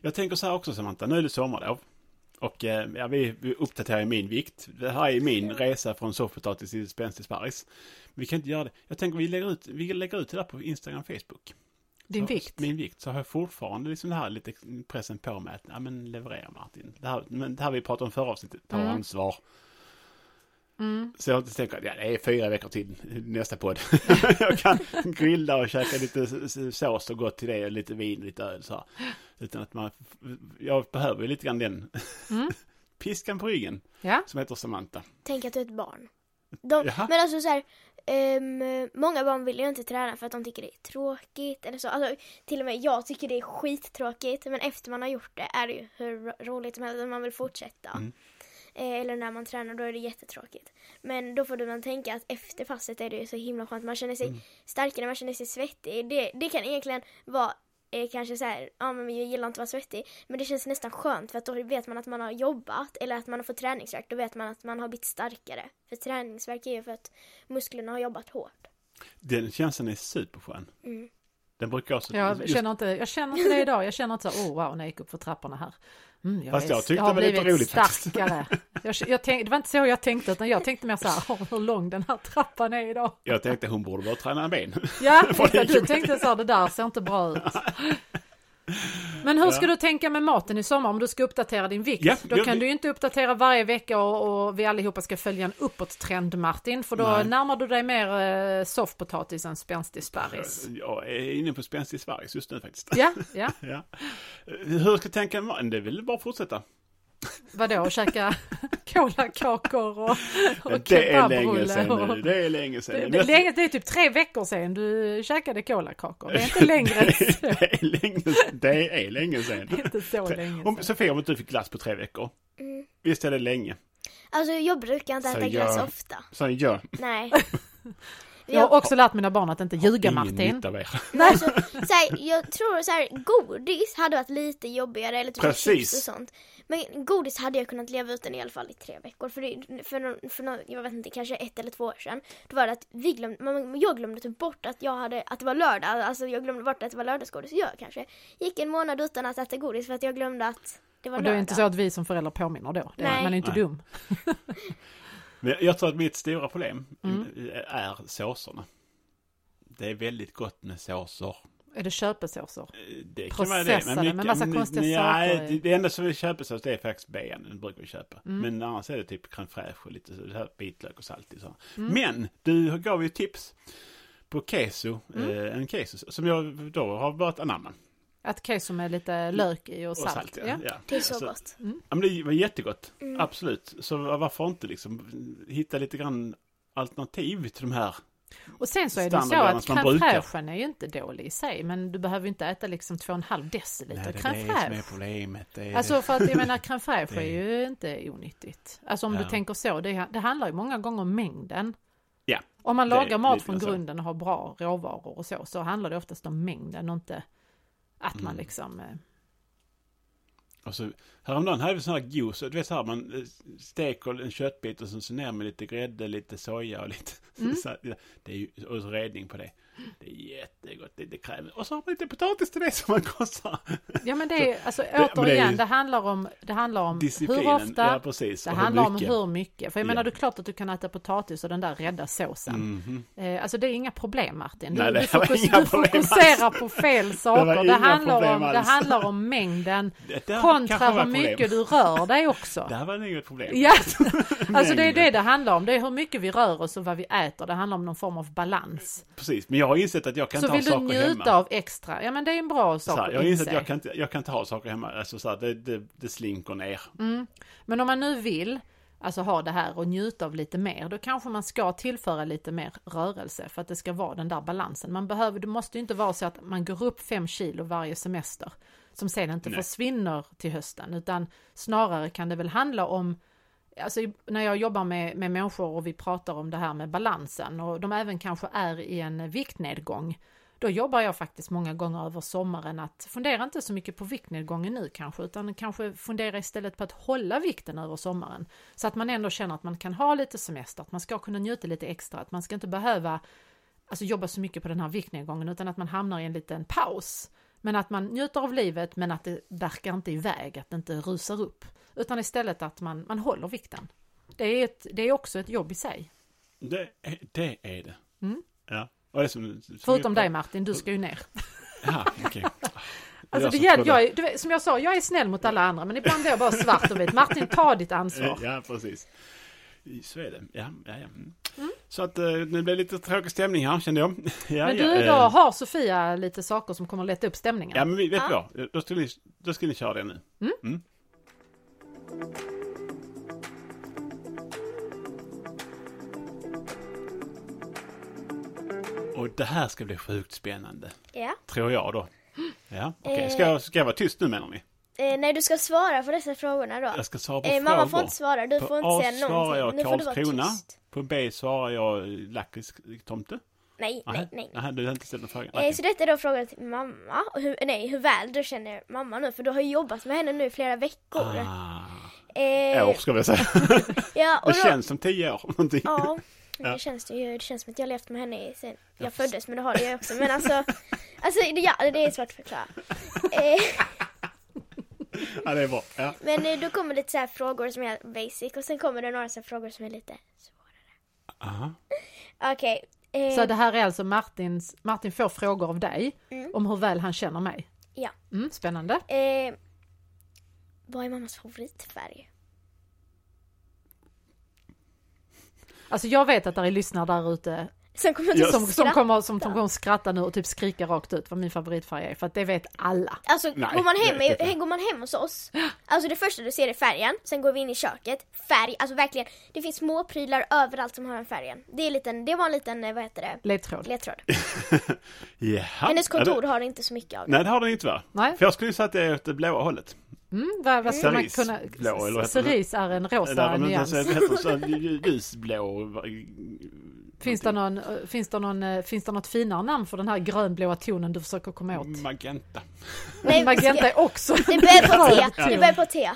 S1: Jag tänker så här också Samantha, nu är det sommarlov. Och eh, ja, vi, vi uppdaterar ju min vikt. Det här är min resa från soffpotatis till spänstig sparris. Men vi kan inte göra det. Jag tänker vi lägger ut, vi lägger ut det där på Instagram och Facebook.
S2: Din
S1: Så-
S2: vikt.
S1: Min vikt. Så har jag fortfarande liksom det här lite pressen på mig att, ja men leverera Martin. Det här, men det här vi pratade om förra avsnittet, ta
S2: Mm.
S1: ansvar. Så jag tänker att ja, det är fyra veckor till nästa podd. jag kan grilla och käka lite s- s- sås och gott till det och lite vin och lite öl så här. Utan att man, jag behöver ju lite grann den
S2: Mm.
S1: piskan på ryggen
S2: Ja,
S1: som heter Samantha.
S3: Tänk att du är ett barn. De,
S1: Jaha.
S3: men alltså så här, ehm, många barn vill ju inte träna för att de tycker det är tråkigt eller så. Alltså, till och med jag tycker det är skittråkigt men efter man har gjort det är det ju hur ro- roligt som helst och man vill fortsätta.
S1: Mm.
S3: Eh, eller när man tränar då är det jättetråkigt. Men då får du man tänka att efter passet är det ju så himla skönt. Man känner sig
S1: Mm.
S3: starkare, man känner sig svettig. Det, det kan egentligen vara eh, kanske så här, ja men jag gillar inte att vara svettig. Men det känns nästan skönt för att då vet man att man har jobbat eller att man har fått träningsvärk. Då vet man att man har blivit starkare. För träningsvärk är ju för att musklerna har jobbat hårt.
S1: Den känslan är superskön. Den brukar jag också...
S2: Mm. jag
S1: just-
S2: känner, inte, jag känner inte det idag. Jag känner inte så, här, oh wow, när jag gick upp för trapporna här. Mm, jag
S1: Fast
S2: är-
S1: jag tyckte
S2: har
S1: det var lite
S2: blivit
S1: roligt faktiskt.
S2: starkare. Jag, jag tänk, det var inte så jag tänkte, utan jag tänkte mer så här, "Åh, hur lång den här trappan är idag.
S1: jag tänkte hon borde bara träna ben.
S2: Ja, exakt. du tänkte så här, det där ser inte bra ut. Men hur ska du tänka med maten i sommar om du ska uppdatera din vikt?
S1: Ja,
S2: då
S1: jag-
S2: kan du ju inte uppdatera varje vecka och, och vi allihopa ska följa en uppåttrend Martin, för då
S1: Nej.
S2: närmar du dig mer eh, soffpotatis än spänstig sparris.
S1: Eh, jag är inne på spänstig sparris just nu faktiskt.
S2: Ja, ja.
S1: Ja. Eh, Hur ska jag tänka? Det är väl bara att fortsätta.
S2: Vadå, och käka kolakakor och, och
S1: Eh, Det är länge sedan
S2: och-
S1: nu. Det är länge sedan.
S2: Det,
S1: nu.
S2: det, är länge, det är typ tre veckor sedan du käkade kolakakor. Det är inte längre än så.
S1: Det är länge sedan. Det är länge sedan.
S2: Det är inte så länge
S1: Om,
S2: sedan.
S1: Sofia, om inte du fick glass på tre veckor.
S3: Mm.
S1: Visst är det länge?
S3: Alltså jag brukar inte
S1: Så
S3: äta
S1: jag-
S3: glass ofta.
S1: Så ja,
S3: Nej.
S2: Jag har
S3: Jag,
S2: också lärt mina barn att inte ljuga
S1: ingen
S2: Martin.
S1: nytta av er.
S3: alltså, så här, jag tror så här, godis hade varit lite jobbigare eller typ
S1: Precis.
S3: chips och sånt. Men godis hade jag kunnat leva utan i alla fall i tre veckor. För, det, för, någon, för någon, jag vet inte, kanske ett eller två år sedan. Då var det att vi glömde, man, jag glömde typ bort att jag hade, att det var lördag. Alltså jag glömde bort att det var lördagsgodis. Jag kanske gick en månad utan att äta godis för att jag glömde att det var
S2: Och
S3: lördag.
S2: det är inte så att vi som föräldrar påminner då. Det är,
S3: Nej.
S2: man är inte
S1: Nej.
S2: dum.
S1: Men jag tror att mitt stora problem
S2: Mm.
S1: är såserna. Det är väldigt gott med såser.
S2: Är det köpesåser?
S1: Det kan vara det.
S2: Processade med massa konstiga
S1: nej,
S2: saker i. Mm.
S1: det- Det enda som vi köper sås det är faktiskt ben. Det brukar vi köpa. Men annars är det typ crème fraîche och lite så här vitlök och salt. i sådana.
S2: Mm.
S1: Men du gav ju tips på keso.
S2: Mm.
S1: Eh, en keso som jag då har börjat anamma.
S2: Att keso med lite lök i och
S1: Och
S2: salt.
S1: salt
S2: ja.
S1: ja. ja. Alltså,
S3: Det är så gott. Mm.
S1: Ja, men det var jättegott, absolut. Så varför inte liksom hitta lite grann alternativ till de här?
S2: Och sen så är det så
S1: Standardgrejerna
S2: att
S1: som
S2: crème
S1: man brukar.
S2: fraîchen är ju inte dålig i sig. Men du behöver ju inte äta liksom två och en halv deciliter crème fraîche.
S1: problemet. Det är
S2: Alltså för att jag menar crème fraîche
S1: Det-
S2: är ju inte onyttigt. Alltså om du
S1: Ja.
S2: tänker så, det, det handlar ju många gånger om mängden.
S1: Ja.
S2: Om man
S1: Det är
S2: lagar mat
S1: lite
S2: från
S1: så.
S2: grunden och har bra råvaror och så, så handlar det oftast om mängden och inte att man
S1: Mm.
S2: liksom... eh,
S1: Och så, Alltså, häromdagen hade vi sån här juice, du vet så här man eh, steker en köttbit och sen så ner med lite grädde, lite soja och lite
S2: Mm.
S1: så här, ja, det är ju, och så redning på det. Det är jättegott, lite kräm. Och så har man lite potatis till det som man kostar.
S2: Ja men det är, alltså
S1: men det är
S2: återigen,
S1: ju-
S2: det handlar om, det handlar om hur
S1: Disciplinen,
S2: ofta,
S1: ja precis.
S2: det
S1: och
S2: handlar om
S1: mycket.
S2: hur mycket. För jag
S1: Ja.
S2: menar, det är klart att du kan äta potatis och den där rädda såsen.
S1: Mhm.
S2: Eh, alltså det är inga problem Martin. Du,
S1: Nej, det
S2: du,
S1: var
S2: fokus,
S1: inga
S2: du
S1: problem
S2: fokuserar på fel saker.
S1: var
S2: Det,
S1: inga
S2: handlar, om,
S1: problem
S2: det
S1: alls.
S2: handlar om mängden
S1: Det, det kanske
S2: kontra
S1: var
S2: hur
S1: ett problem.
S2: mycket du rör dig också.
S1: Det här var nog ett problem.
S2: Ja, alltså det är det det handlar om. Det är hur mycket vi rör oss och vad vi äter. Det handlar om någon form av balans.
S1: Precis, men jag har insett att jag kan
S2: Så
S1: inte ha
S2: vill du
S1: saker hemma.
S2: njuta av extra, ja men det är en bra
S1: Så
S2: sak
S1: här,
S2: att
S1: jag har insett att
S2: inse.
S1: jag kan, inte, jag kan inte ha saker hemma. Alltså så här, det, det, det slinker ner.
S2: Mm. Men om man nu vill alltså ha det här och njuta av lite mer, då kanske man ska tillföra lite mer rörelse för att det ska vara den där balansen. Man behöver, det måste ju inte vara så att man går upp fem kilo varje semester som sen inte
S1: Nej.
S2: försvinner till hösten, utan snarare kan det väl handla om Alltså i- när jag jobbar med, med människor och vi pratar om det här med balansen och de även kanske är i en viktnedgång. Då jobbar jag faktiskt många gånger över sommaren att fundera inte så mycket på viktnedgången nu kanske utan kanske fundera istället på att hålla vikten över sommaren. Så att man ändå känner att man kan ha lite semester, att man ska kunna njuta lite extra, att man ska inte behöva alltså, jobba så mycket på den här viktnedgången utan att man hamnar i en liten paus. Men att man njuter av livet men att det verkar inte iväg, att det inte rusar upp. Utan istället att man, man håller vikten. Det är, ett, det är också ett jobb i sig.
S1: Det, är- det är det.
S2: Mm.
S1: Ja. Och det som, som
S2: Förutom
S1: vi-
S2: dig Martin, du ska ju ner.
S1: Ja, okej.
S2: Alltså det
S1: som
S2: gäller,
S1: kollar.
S2: jag, är- du vet, som jag sa, jag är snäll mot alla andra men ibland är jag bara svart och vit. Martin, ta ditt ansvar.
S1: Ja, precis. Så är det. Ja, ja, ja. Mm. Så att eh, nu blev det lite tråkig stämning här kände jag. Ja,
S2: Men
S1: ja.
S2: du då,
S1: Eh,
S2: har Sofia lite saker som kommer lätta upp stämningen?
S1: Ja, men vi- vet du
S3: Ja.
S1: vad? Då ska, ni, då ska ni köra det nu. Mm. Och det här ska bli sjukt spännande.
S3: Ja.
S1: Tror jag då. Ja, okej.
S3: Eh.
S1: Ska, jag- ska jag vara tyst nu menar ni?
S3: Eh, nej, du ska svara på dessa frågorna då.
S1: Jag ska svara på
S3: Eh,
S1: frågor.
S3: mamma får inte svara, du
S1: På
S3: får
S1: A
S3: inte säga
S1: svarar
S3: någonting.
S1: jag
S3: nu får du vara
S1: Karlskrona.
S3: tyst.
S1: På B svarar jag eh, lakritstomte.
S3: Nej, nej, nej.
S1: Aha, du har inte ställt någon fråga?
S3: Eh,
S1: Okej.
S3: så detta är då frågan till mamma. Och Hur, nej, hur väl du känner mamma nu. För du har ju jobbat med henne nu i flera veckor.
S1: Ah,
S3: Eh,
S1: år ska vi säga.
S3: ja, och
S1: Det
S3: då,
S1: känns som tio år. Någonting.
S3: Ja, men
S1: Ja.
S3: det känns det ju. Det känns som att jag har levt med henne i- sen jag
S1: Jag förstår.
S3: föddes. Men det har jag också. Men alltså, alltså det- ja, det är svårt att förklara. Eh,
S1: Ja, det är bra. Ja.
S3: men eh, då kommer lite så här frågor som är basic. Och sen kommer det några så här frågor som är lite svåra.
S1: Aha.
S3: Okej. eh,
S2: Så det här är alltså Martins, Martin får frågor av dig
S3: Mm.
S2: om hur väl han känner mig?
S3: Ja.
S2: Mm, spännande.
S3: eh, vad är mammas favoritfärg?
S2: Alltså jag vet att det är lyssnare där ute
S3: Som kommer
S1: Ja,
S3: att
S2: Som, som
S3: skratta.
S2: kommer som kommer skratta nu och typ skrika rakt ut vad min favoritfärg är för att det vet alla.
S3: Alltså
S1: Nej,
S3: går, man
S1: det
S3: hem,
S1: vet jag inte.
S3: går man hem hos oss, alltså det första du ser är färgen, sen går vi in i köket, färg, alltså verkligen, det finns små prylar överallt som har en färgen. Det, är liten, det var en liten, eh, vad heter det,
S2: Ledtråd.
S3: ledtråd.
S1: Jaha.
S3: Hennes
S1: Ja,
S3: kontor
S1: det,
S3: har inte så mycket av det.
S1: nej, det har den inte va?
S2: Nej.
S1: För jag skulle ju säga att det är åt det blåa hållet.
S2: Mm, vad, vad ska man
S1: Cerise.
S2: kunna...
S1: Blå, eller vad heter
S2: Cerise är en
S1: Det
S2: rosa
S1: där, men
S2: nyans.
S1: alltså, det heter så lj- ljusblå. va-
S2: Finns det, någon, eh, finns, det någon, eh, finns det något finare namn för den här grönblåa tonen du försöker komma åt?
S1: Magenta.
S3: Nej,
S2: Magenta är också
S3: Det
S2: en
S3: börjar
S2: röd
S3: på T, det
S2: ton.
S3: börjar på T.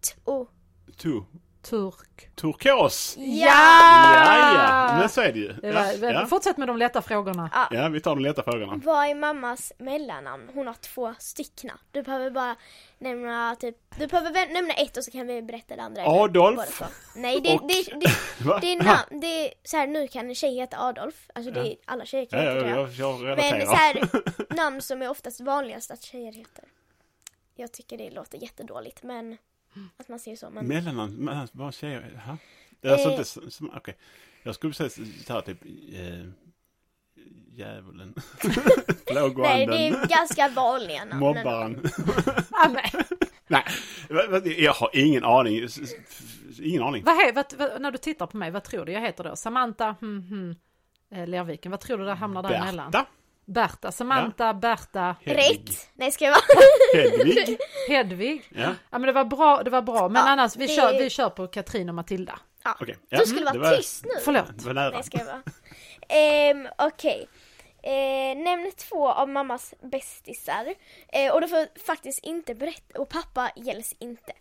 S3: T- O.
S1: Tu.
S2: Turk.
S1: Turkos. Ja, ja. Men
S2: Ja!
S1: så är det ju.
S2: Det var,
S1: Ja, ja.
S2: Fortsätt med de lätta frågorna.
S3: Ja.
S1: ja vi tar de lätta frågorna.
S3: Vad är mammas mellannamn? Hon har två styckna. Du behöver bara nämna typ, du behöver vä- nämna ett och så kan vi berätta det andra.
S1: Adolf.
S3: Båda två. Nej, det,
S1: Och-
S3: det, det,
S1: Va?
S3: det är namn, det är så här, nu kan en tjej heta Adolf. Alltså det är, alla tjejer kan
S1: Ja, ja,
S3: heta det.
S1: jag, jag
S3: Men så
S1: relaterar.
S3: här, namn som är oftast vanligast att tjejer heter. Jag tycker det låter jättedåligt men att man säger så. Men
S1: Mellannamn, mellan- vad tjejer, jaha. Det är alltså
S3: Eh.
S1: inte som, som okej. Jag skulle säga så här typ, eh, djävulen,
S3: nej, det
S1: plågoanden,
S3: är ganska vanliga namn.
S1: mobbaren.
S2: Ah, nej.
S1: Nej, va- va- jag har ingen aning. S- s- f- Ingen aning.
S2: Vad, he- vad, vad, när du tittar på mig, vad tror du jag heter då? Samantha hmm, hmm, eh, Lerviken, vad tror du det hamnar däremellan?
S1: Berta,
S2: Berta, Samantha, Berta,
S1: Hedvig,
S3: Rätt! Nej ska jag vara.
S1: Hedvig.
S2: Hedvig.
S1: Ja,
S2: Ja men det var bra, det var bra. Men
S3: Ja,
S2: annars, vi,
S3: det-
S2: kör, vi kör på Katrin och Matilda.
S3: Ja.
S1: okej. mm,
S3: Du skulle vara
S1: det var-
S3: tyst nu.
S1: Det
S2: Förlåt.
S1: var nära.
S3: Nej ska jag vara. Ehm, Okej. Eh, nämn två av mammas bästisar. Eh, och du får faktiskt inte berätta. Och pappa gälls inte.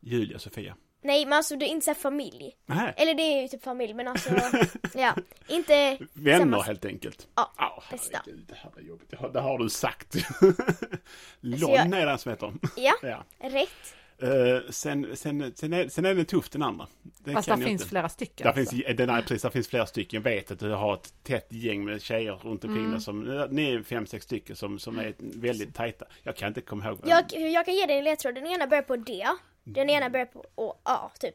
S1: Julia och Sofia.
S3: Nej men alltså det är inte så här familj.
S1: Nej,
S3: Eller det är ju typ familj men alltså. ja. Inte
S1: vänner
S3: samma-
S1: helt enkelt.
S3: Ja,
S1: Au,
S3: bästa. Alltså,
S1: herregud, Det här var jobbigt. Det har, det har du sagt.
S3: jag-
S1: Lång är den som heter.
S3: Ja.
S1: Ja.
S3: Rätt.
S1: Eh, sen, sen, sen, är, sen är den tuff den andra. Den
S2: Fast
S1: kan
S2: där
S1: jag
S2: finns
S1: inte.
S2: flera stycken.
S1: Där
S2: alltså.
S1: finns, den här, precis, där finns flera stycken. Jag vet att du har ett tätt gäng med tjejer runt
S2: Mm.
S1: omkring dig som, ni är fem, sex stycken som, som är väldigt tajta. Jag kan inte komma ihåg.
S3: Jag, jag kan ge dig en ledtråd. Den ena börjar på D. Den ena börjar på å, A. Typ.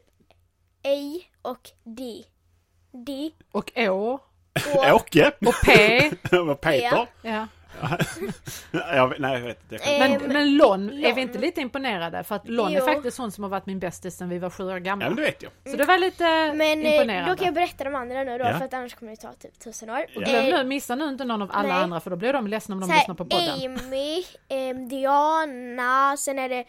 S3: A och D. D.
S2: Och Å
S3: Och,
S1: Åke!
S2: och P.
S1: Och Peter!
S3: Ja.
S2: Ja.
S1: jag, vet- nej, jag vet inte. Jag kan inte.
S3: Eh,
S2: Men,
S3: Ehm,
S2: men Lon, är vi
S3: Lon.
S2: inte lite imponerade? För att Lon är
S3: Jo.
S2: faktiskt hon som har varit min bästis sedan vi var sju år
S1: Ja,
S2: gamla.
S1: men det vet jag.
S2: Så det var lite
S3: men eh,
S2: imponerande.
S3: då kan jag berätta de andra nu då
S1: Ja.
S3: för att annars kommer det ta typ tusen år.
S1: Och
S2: Glöm nu, missa nu inte någon av alla
S3: nej.
S2: andra för då blir de ledsna om de
S3: så här,
S2: lyssnar på podden.
S3: Amy, ehm, Diana, sen är det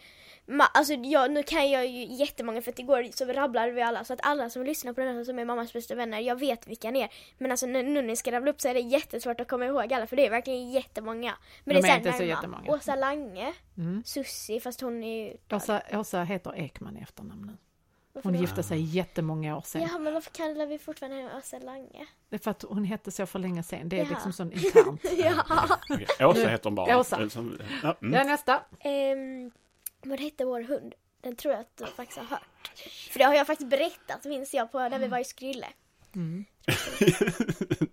S3: ma- Alltså jag, nu kan jag ju jättemånga för att igår så rabblade vi alla så att alla som lyssnar på den här som är mammas bästa vänner, jag vet vilka ni är. Men alltså nu, nu när ni ska rabbla upp så är det jättesvårt att komma ihåg alla för det är verkligen jättemånga. Men
S2: De
S3: det
S2: är
S3: är,
S2: inte så
S3: närma.
S2: jättemånga.
S3: Åsa Lange,
S2: Mm.
S3: Sussi fast hon är ju...
S2: Åsa, Åsa heter Ekman i efternamn nu.
S3: varför
S2: Hon
S3: då?
S2: gifte sig jättemånga år sedan.
S3: Ja men varför kallar vi fortfarande henne Åsa Lange?
S2: Det är för att hon hette så för länge sedan. Det är
S3: Ja.
S2: liksom sån internt.
S3: ja.
S1: Okej, Åsa heter hon bara.
S2: Åsa.
S1: Eh, Som, ja, mm.
S2: Ja, nästa.
S3: Ehm, vad hette vår hund? Den tror jag att du faktiskt har hört. För det har jag faktiskt berättat minns jag på när
S2: Mm.
S3: vi var i Skrylle.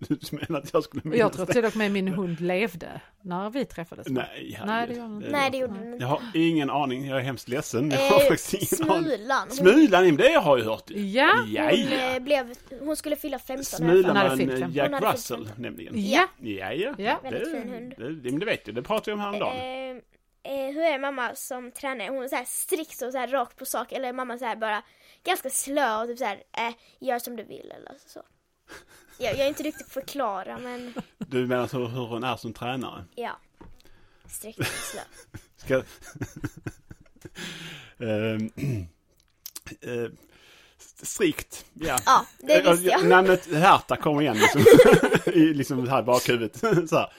S1: du menar att jag skulle
S2: Och jag tror till och med min hund levde när vi träffades.
S1: Nej, herregud. Eh,
S2: Nej, det gör hon inte.
S3: Nej det gjorde den inte.
S1: Jag har ingen aning. Jag är hemskt ledsen. Jag har
S3: Eh,
S1: faktiskt ingen aning.
S3: Smulan. Hon,
S1: Smulan, det har jag hört ju.
S2: Ja,
S3: hon,
S1: Ja, ja.
S3: eh, blev, hon skulle fylla 15 här
S1: Smulan
S3: för-
S2: Hon hade
S1: man
S2: fyllt femton.
S3: Hon
S1: Jack
S3: hade
S1: Russell
S3: fyllt
S1: nämligen.
S2: ja.
S1: Ja, ja.
S2: Ja.
S3: Väldigt fin hund.
S1: Det, det, men det vet du, det pratade vi om häromdagen.
S3: Ehm, eh, hur är mamma som tränare? Hon är så här strikt och så här rakt på sak eller är mamma så här bara ganska slö och typ så här eh, gör som du vill eller så. Jag, jag är inte riktigt på att förklara men
S1: Du menar så hur hon är som tränare?
S3: ja. Strikt och slö.
S1: Ska... Ehm, eh, strikt, ja.
S3: Ja, det
S1: Eh,
S3: visste jag.
S1: Namnet Hertha kommer igen liksom. I liksom här i bakhuvudet. så här.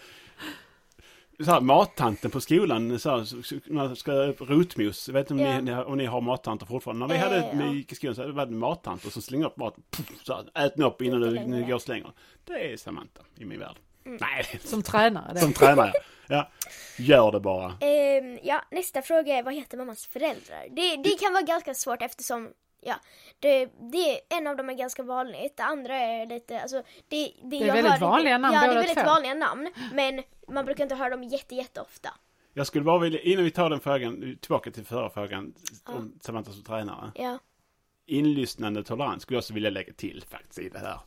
S1: Så här, mattanten på skolan, så här, så- så- man ska rotmos. Jag vet inte om,
S3: Ja.
S1: ni, om ni har mattanter fortfarande. När vi
S3: Eh,
S1: hade
S3: ja.
S1: ja. i skolan så var det mattanter som slängde upp mat. Pff, så här, ät den upp innan
S3: Inte
S1: du, nu
S3: längre. Mm.
S1: går och slänger. Det är Samantha i min värld. Nej,
S2: som tränare. Det.
S1: som tränare. Ja, gör det bara.
S3: Ehm, ja, nästa fråga är vad heter mammas föräldrar? Det, det kan vara ganska svårt eftersom ja, det, det, en av dem är ganska vanligt, det andra är lite, alltså det, det, jag
S2: väldigt
S3: hör inte-
S2: vanliga namn
S3: Ja, det är
S2: båda
S3: väldigt
S2: två.
S3: vanliga namn, men man brukar inte höra dem jätte, jätteofta.
S1: Jag skulle bara vilja, innan vi tar den frågan, tillbaka till förra frågan om Samantha som tränare.
S3: Ja.
S1: Inlyssnande tolerans skulle jag också vilja lägga till faktiskt i det här.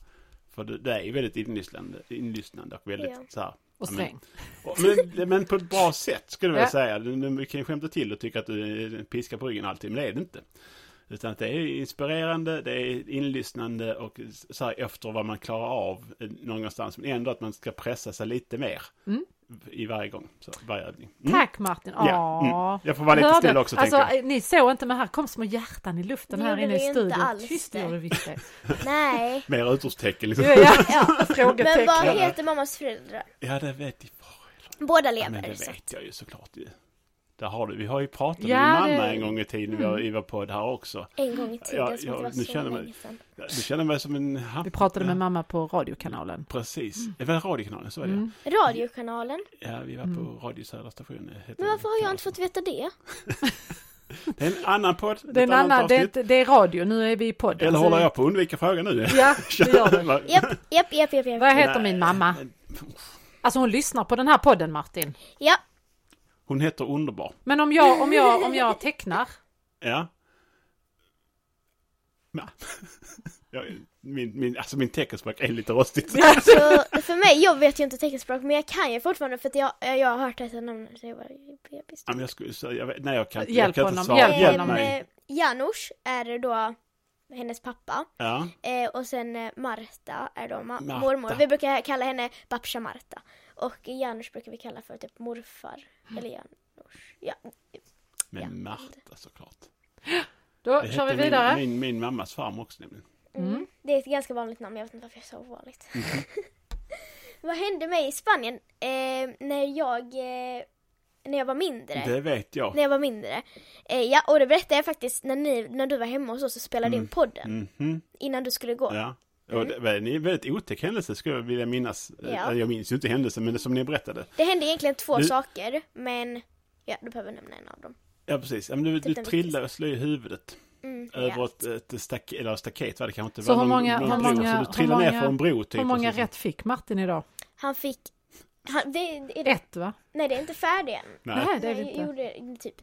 S1: För det, det är ju väldigt inlyssnande, inlyssnande och väldigt
S3: Ja.
S1: så här.
S2: Och
S1: Ja,
S2: sträng.
S1: och- Men, men på ett bra sätt skulle jag vilja
S2: Ja.
S1: säga. Du, du vi kan ju skämta till och tycka att du är en piska på ryggen alltid, men det är det inte. Utan att det är inspirerande, det är inlyssnande och så här efter vad man klarar av eh, någonstans. Men ändå att man ska pressa sig lite mer
S2: Mm.
S1: i varje gång, så, varje övning. Mm.
S2: Tack Martin! Åh.
S1: Ja, mm. Jag får vara lite
S2: Hörde-
S1: snäll också,
S2: alltså,
S1: tänker jag.
S2: eh, Ni såg inte men här kom små hjärtan i luften
S3: Det
S2: här
S3: gjorde
S2: inne i
S3: vi inte
S2: studion.
S3: alls
S2: Tyst
S3: det.
S2: gjorde vi det.
S3: Nej.
S1: Mer utropstecken liksom.
S2: Ja, ja,
S3: Ja. Men vad
S2: frågetecken.
S3: heter mammas föräldrar?
S1: Ja, det vet jag.
S3: Båda
S1: Ja,
S3: lever.
S1: men det
S3: så.
S1: vet jag ju såklart ju. Där har du, vi har ju pratat
S2: Ja,
S1: med min mamma
S2: det- mm.
S1: en gång i tiden vi var, i vår podd här också.
S3: En gång i tiden
S1: Ja,
S3: som
S1: ja,
S3: inte var
S1: nu
S3: så
S1: känner man-
S3: länge sedan.
S1: Du känner mig som en... ha-
S2: Vi pratade med
S1: Ja,
S2: mamma på radiokanalen.
S1: Precis. Det var radiokanalen, så är det
S2: Mm.
S3: Radiokanalen.
S1: ja. vi var på Radio Södra station. eh, heter
S3: Men varför har jag
S1: kanalen.
S3: inte fått veta det?
S1: Det är en annan podd.
S2: Det är, en
S1: ett annat
S2: annan, det, är,
S1: avsnitt.
S2: inte- det är radio, nu är vi i podden.
S1: Eller
S2: så
S1: håller
S2: vi-
S1: jag på att undvika frågan nu?
S2: Ja, det gör du.
S1: Vad-
S3: Japp, japp, japp, japp. japp.
S2: Vad heter min mamma? Alltså hon lyssnar på den här podden Martin.
S3: Ja,
S1: Hon heter Underbar.
S2: Men om jag, om jag, om jag tecknar,
S1: Ja. Ja. Ja, Min, min, alltså min teckenspråk är lite rostigt.
S3: så för mig, jag vet ju inte teckenspråk men jag kan ju fortfarande för att jag, jag har hört detta namn så jag bara, bebis.
S1: Ja, men jag skulle säga, jag vet, nej jag kan, jag
S2: Hjälp
S1: kan
S2: honom,
S1: inte svara.
S2: hjälp
S3: Ehm,
S2: honom.
S1: mig.
S3: eh, Janusz är då hennes pappa
S1: Ja,
S3: eh, och sen eh, Marta är då ma-
S1: Marta.
S3: mormor. Vi brukar kalla henne Babsha Marta och Janusz brukar vi kalla för typ morfar. Eller Janusz. Ja,
S1: med
S3: Ja.
S1: Marta såklart.
S2: då
S1: Det
S2: kör vi
S1: hette
S2: vidare.
S1: Min, min, min mammas farmor också nämligen.
S2: Mm.
S3: Det är ett ganska vanligt namn, jag vet inte varför jag sa ovanligt. Vad hände mig i Spanien eh, när jag eh, när jag var mindre?
S1: Det vet jag.
S3: När jag var mindre. Eh, ja, och det berättade jag faktiskt när, ni, när du var hemma hos oss och spelade
S1: Mm.
S3: in podden
S1: Mhm,
S3: innan du skulle gå.
S1: Ja. Och det var en väldigt otäck händelse skulle jag vilja minnas.
S3: Ja.
S1: Eh, Jag minns ju inte händelsen men det som ni berättade.
S3: Det hände egentligen två
S1: Du-
S3: saker, men ja, du behöver nämna en av dem.
S1: Ja precis, Ja, men du, du
S3: Typ den
S1: trillade och slog i huvudet.
S3: Mm,
S1: Över
S3: ja.
S1: ett, ett stack, eller staket var det kanske inte.
S2: Så
S1: var
S2: hur många-
S1: någon
S2: hur
S1: bro,
S2: många-
S1: så du trillade
S2: hur
S1: ner
S2: många-
S1: för en bro typ.
S2: Hur många
S1: och så-
S2: rätt fick Martin idag?
S3: Han fick... Han, det, det, är det,
S2: Ett va?
S3: nej, det är inte färdigt än.
S1: Nej.
S2: Nej, det är vi
S3: jag
S2: inte.
S3: gjorde typ...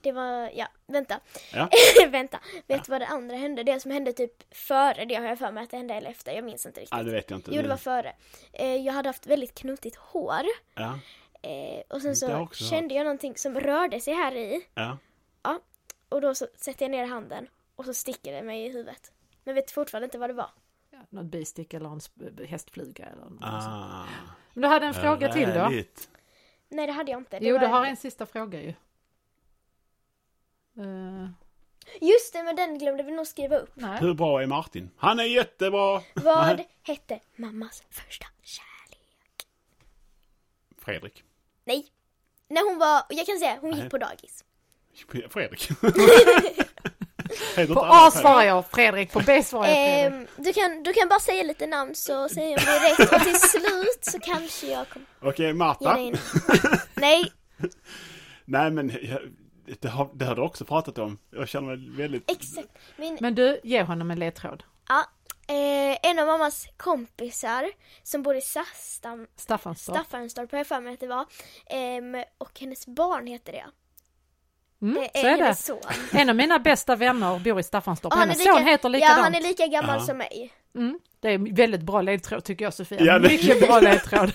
S3: Det var, ja, vänta.
S1: Ja.
S3: vänta. Vet du vad det andra hände? Det som hände typ före det har jag för mig att det hände eller efter. Jag minns inte riktigt.
S1: Ja, det vet jag inte.
S3: Jo, det var före. Eh, jag hade haft väldigt knotigt hår.
S1: Ja,
S3: Eh, och sen
S1: Mm, Det har jag
S3: så
S1: också
S3: kände jag någonting som rörde sig här i.
S1: ja.
S3: Och då så sätter jag ner handen och så sticker det mig i huvudet. Men vet fortfarande inte vad det var.
S2: Något bistick eller en sp- hästfluga eller något sånt.
S1: Ah,
S2: Men du hade en fråga till då?
S1: härligt.
S3: Nej, det hade jag inte. Det
S2: Jo,
S3: var
S2: du har en sista fråga ju. Eh,
S3: Just det, men den glömde vi nog skriva upp.
S2: nej.
S1: Hur bra är Martin? Han är jättebra!
S3: Vad
S1: Nej.
S3: hette mammas första kärlek?
S1: Fredrik.
S3: Nej. När hon var, jag kan säga, hon
S1: Nej.
S3: gick på dagis.
S1: Fredrik. Heter
S2: På
S1: inte alla
S2: A svarar jag Fredrik, på B svarar jag Fredrik.
S3: Ehm, du, kan, du kan bara säga lite namn så säger jag om det är rätt och till slut så kanske jag kommer
S1: Fredrik? Okej,
S3: ge
S1: Marta.
S3: dig en... Nej,
S1: Nej men jag, det, har, det har du också pratat om. Jag känner mig väldigt...
S3: exakt. Min,
S2: Men du, ge honom en ledtråd.
S3: ja, eh, en av mammas kompisar som bor i Sastam,
S2: Staffanstorp.
S3: Staffanstorp har jag för mig att det var. Ehm, och hennes barn heter det.
S2: Mm,
S3: Det
S2: så är det.
S3: hennes son.
S2: En av mina bästa vänner bor i Staffanstorp.
S3: Och
S2: Hennes son heter likadant.
S3: Ja, han är lika gammal
S1: Ja.
S3: som mig.
S2: mm, det är en väldigt bra ledtråd tycker jag Sofia.
S1: Ja, det-
S2: Mycket bra ledtråd.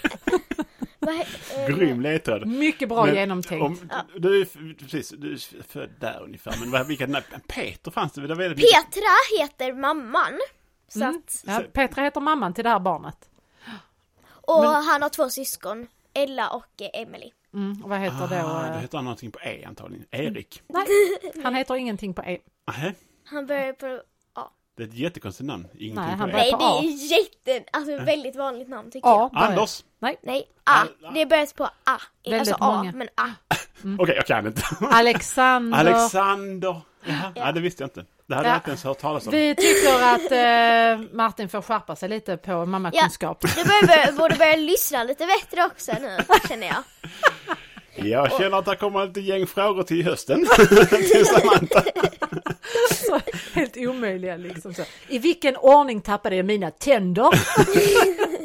S3: Vad he- eh,
S1: Grym ledtråd.
S2: Mycket Mm, bra
S1: Men
S2: genomtänkt. Mm.
S1: Om, du, är f- precis, du är f- född där ungefär, men vad- vilka namn? Peter fanns det, det var väldigt mycket-
S3: Petra heter mamman. Så
S2: Mm.
S3: att,
S2: Ja, Petra heter mamman till det här barnet.
S3: och
S2: Men-
S3: han har två syskon. Ella och eh, Emily.
S2: Mm, och vad heter då?
S1: Ah, det
S2: eh,
S1: heter han någonting på E antagligen. Erik.
S2: Nej, han heter ingenting på E.
S1: Nähä,
S3: Han börjar på...
S1: det är ett jättekonstigt namn. Ingenting
S2: Nej, han
S1: på E.
S2: börjar-
S3: Nej,
S2: på
S3: det
S2: A.
S3: är jätte... Alltså väldigt vanligt namn tycker
S2: A.
S3: jag.
S2: börjar-
S1: Anders!
S2: Nej,
S3: Nej, A.
S1: Alla.
S3: Det börjar på A. Inte
S2: Väldigt
S3: alltså A,
S2: många.
S3: men A.
S2: Mm.
S1: Okej, jag kan inte.
S2: Alexander.
S1: Alexander! Jaha, ja. det visste jag inte. Det hade
S2: Ja.
S1: jag inte ens hört talas om.
S2: Vi tycker att eh, Martin får skärpa sig lite på mammakunskap.
S3: Du börjar, börja- borde börja lyssna lite bättre också nu, känner jag.
S1: Jag känner att det kommer ett gäng frågor till hösten. till Samantha.
S2: Så, helt omöjliga liksom. Så. I vilken ordning tappade jag mina tänder?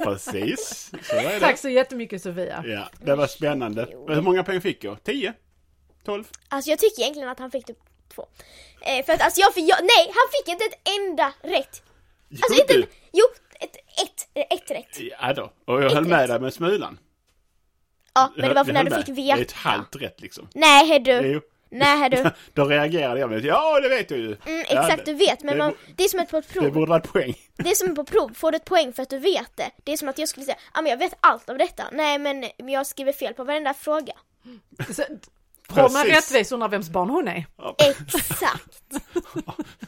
S1: Precis, så är det.
S2: Tack så jättemycket Sofia.
S1: Ja, det var spännande. Hur många poäng fick jag? 10? 12?
S3: Alltså jag tycker egentligen att han fick typ två. Alltså, Eh, för att alltså jag, för jag... Nej, han fick inte ett enda rätt. Alltså inte... Jo, ett ett, ett rätt.
S1: Ja då. Och jag höll med dig med smulan.
S3: Ja, men det var för
S1: Jag höll
S3: när du
S1: med.
S3: fick
S1: Det är ett
S3: veta.
S1: halvt rätt liksom.
S3: Nej, hej du.
S1: Jo.
S3: Nej, hej du.
S1: Då reagerade jag med ja det vet jag ju.
S3: Mm,
S1: Ja,
S3: exakt,
S1: det-
S3: du vet. Men
S1: det
S3: man,
S1: bo-
S3: det är som ett på ett
S1: Det
S3: prov.
S1: borde varit poäng.
S3: Det är som på prov, får du ett poäng för att du vet det? Det är som att jag skulle säga, ja men jag vet allt om detta. Nej men men jag skriver fel på varenda fråga.
S2: Så, har man
S1: Precis.
S2: rättvis undrar vems barn hon är.
S3: Exakt!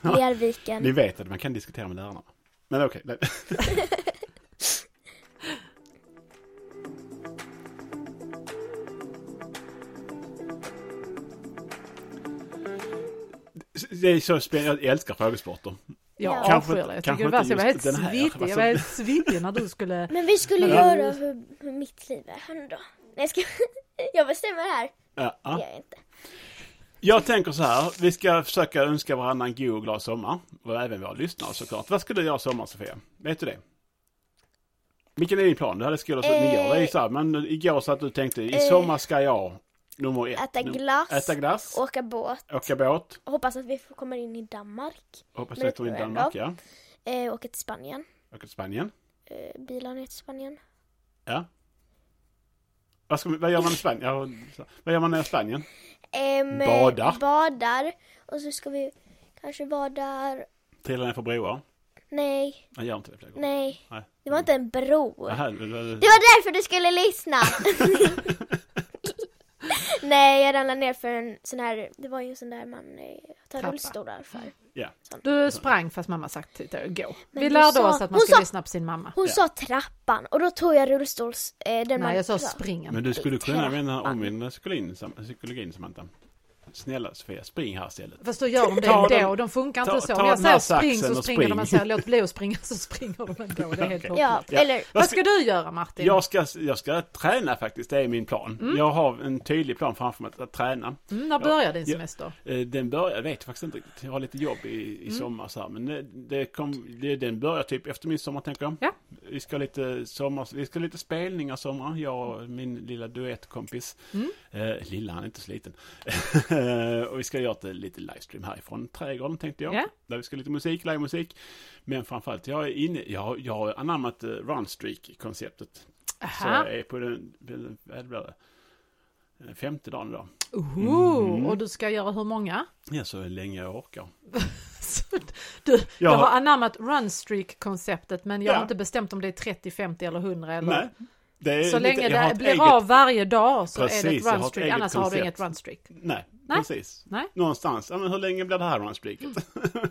S1: Ni
S3: Lerviken.
S1: vet att man kan diskutera med lärarna. Men okej. nej. Det är så spännande. Jag älskar frågesporter.
S2: Jag
S3: Ja.
S1: Kanske-
S2: avskyr det. Jag
S1: kanske
S2: tycker det var
S1: inte
S2: så jag var helt
S1: just den här.
S2: sviddig. Jag var helt sviddig när du skulle...
S3: Men vi skulle
S1: Ja.
S3: göra hur, hur mitt liv är. Han då? Nej jag ska... Jag bestämmer här.
S1: Ja,
S3: Det
S1: ja.
S3: gör jag inte.
S1: Jag tänker så här, vi ska försöka önska varandra en god och glad sommar. Och även våra lyssnare såklart. Vad ska du göra i sommar Sofia? Vet du det? Vilken är din plan? Du hade skola så
S3: Eh.
S1: igår. Det är ju så här, men igår så att du tänkte i
S3: Eh.
S1: sommar ska jag nummer ett.
S3: Äta
S1: num-
S3: glass.
S1: Äta glass.
S3: Åka båt.
S1: Åka båt.
S3: Hoppas att vi får komma in i Danmark.
S1: Hoppas
S3: Men det
S1: att du är i
S3: tror jag
S1: Danmark, ja.
S3: Eh, åka till Spanien.
S1: Åka till Spanien.
S3: Eh, bilar ner till Spanien.
S1: Ja. Vad, ska, man- vad gör man i Spanien? Ja, så- vad gör man i Spanien?
S3: Ehm, eh,
S1: Bada.
S3: Badar. Och så ska vi kanske badar.
S1: Trilla ner för broar?
S3: Nej,
S1: Jag gör inte det fler gånger.
S3: nej.
S1: Nej.
S3: Det var inte en bro.
S1: Aha, det var-
S3: Det var därför du skulle lyssna! Nej, jag ramlade ner för en sån här, det var ju en sån där man eh, tar
S2: Trappa.
S3: rullstolar för.
S1: Ja.
S2: Du sprang fast mamma sagt till dig att gå. Vi
S3: hon
S2: lärde
S3: sa-
S2: oss att man
S3: hon
S2: ska
S3: sa-
S2: lyssna på sin mamma.
S3: Hon
S1: Ja.
S3: sa trappan och då tog jag rullstols... Eh, den man
S2: Nej, jag sa
S3: drar.
S2: springen.
S1: Men du skulle kunna använda
S3: Trappan.
S1: omvända psykologin, Sam- psykologin Samantha. Snälla Sofia, spring här istället.
S2: Fast då gör de det
S1: Ta
S2: ändå,
S1: den-
S2: de funkar
S1: ta-
S2: inte så.
S1: ta
S2: Om jag
S1: den här
S2: säger spring
S1: saxen
S2: så
S1: och
S2: springer de, om jag
S1: spring.
S2: säger låt bli att springa så springer de ändå. Det är helt
S1: Okej.
S2: hopplöst.
S3: Ja,
S1: Ja.
S3: eller...
S2: Vad ska du göra Martin?
S1: Jag ska, jag ska träna faktiskt, det är min plan. Jag har en tydlig plan framför mig att, att träna.
S2: Mm, när börjar din
S1: Ja.
S2: semester?
S1: Eh, Den börjar, jag vet faktiskt inte riktigt, jag har lite jobb i, i
S2: Mm.
S1: sommar så här, men det, det kom, det, den börjar typ efter midsommar tänker jag.
S2: Ja.
S1: Vi ska ha lite sommar, vi ska ha lite spelningar sommar, jag och min lilla duettkompis.
S2: Mm.
S1: Eh, lilla, han är inte så liten. och vi ska göra ett, eh, lite livestream härifrån trädgården tänkte jag.
S2: Ja.
S1: Där vi ska ha lite musik, livemusik. Men framförallt, jag är inne, jag, jag har anammat eh, runstreak-konceptet. Så
S2: Aha.
S1: jag är på den, den, vad blir det? Den femte dagen idag.
S2: Oho,
S1: Mm.
S2: Och du ska göra hur många?
S1: Ja, så länge jag orkar.
S2: Så Du,
S1: Ja.
S2: jag har anammat runstreak-konceptet men jag har
S1: Ja.
S2: inte bestämt om det är 30, 50 eller 100 eller...
S1: Nej, det är
S2: Så
S1: lite-
S2: länge
S1: jag har
S2: det
S1: ett
S2: blir
S1: eget-
S2: av varje dag så är det
S1: Precis,
S2: ett
S1: jag har ett
S2: runstreak,
S1: eget
S2: annars har du
S1: koncept.
S2: inget runstreak.
S1: Nej,
S2: Nej.
S1: precis.
S2: Nej. Mm.
S1: Någonstans, ja men hur länge blir det här runstreaket?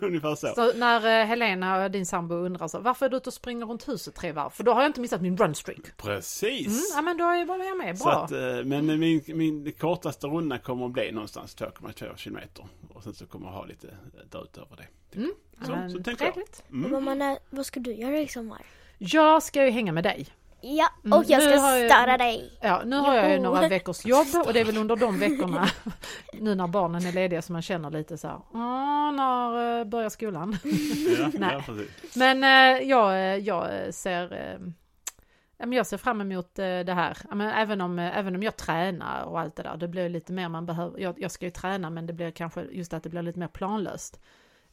S1: Ungefär så.
S2: Så när eh, Helena, och din sambo, undrar så varför är du ute och springer runt huset tre varv? För då har jag inte missat min runstreak. Mm,
S1: Precis.
S2: ja men då är jag jag med,
S1: Så
S2: bra.
S1: att, eh, men min, min kortaste runda kommer att bli någonstans 2,2 kilometer. Och sen så kommer jag ha lite därutöver det.
S2: Mm.
S1: Så,
S2: Men
S1: så tänker jag.
S2: trevligt.
S1: Mm.
S3: Mamma, när, vad ska du göra i sommar?
S2: Jag ska ju hänga med dig.
S3: Ja,
S2: Mm,
S3: och jag
S2: nu
S3: ska
S2: har jag-
S3: störa dig.
S2: Ja, nu har jag ju
S3: Jo.
S2: några veckors jobb och det är väl under de veckorna nu när barnen är lediga som man känner lite så här, "Åh, när eh, börjar skolan?
S1: Ja,
S2: Nej.
S1: ja, precis.
S2: Men eh, jag, eh, jag eh, ser eh, ja, men jag ser fram emot eh, det här. Ja, men även, om, eh, även om jag tränar och allt det där, det blir ju lite mer man behöver. Jag, jag ska ju träna men det blir kanske just att det blir lite mer planlöst.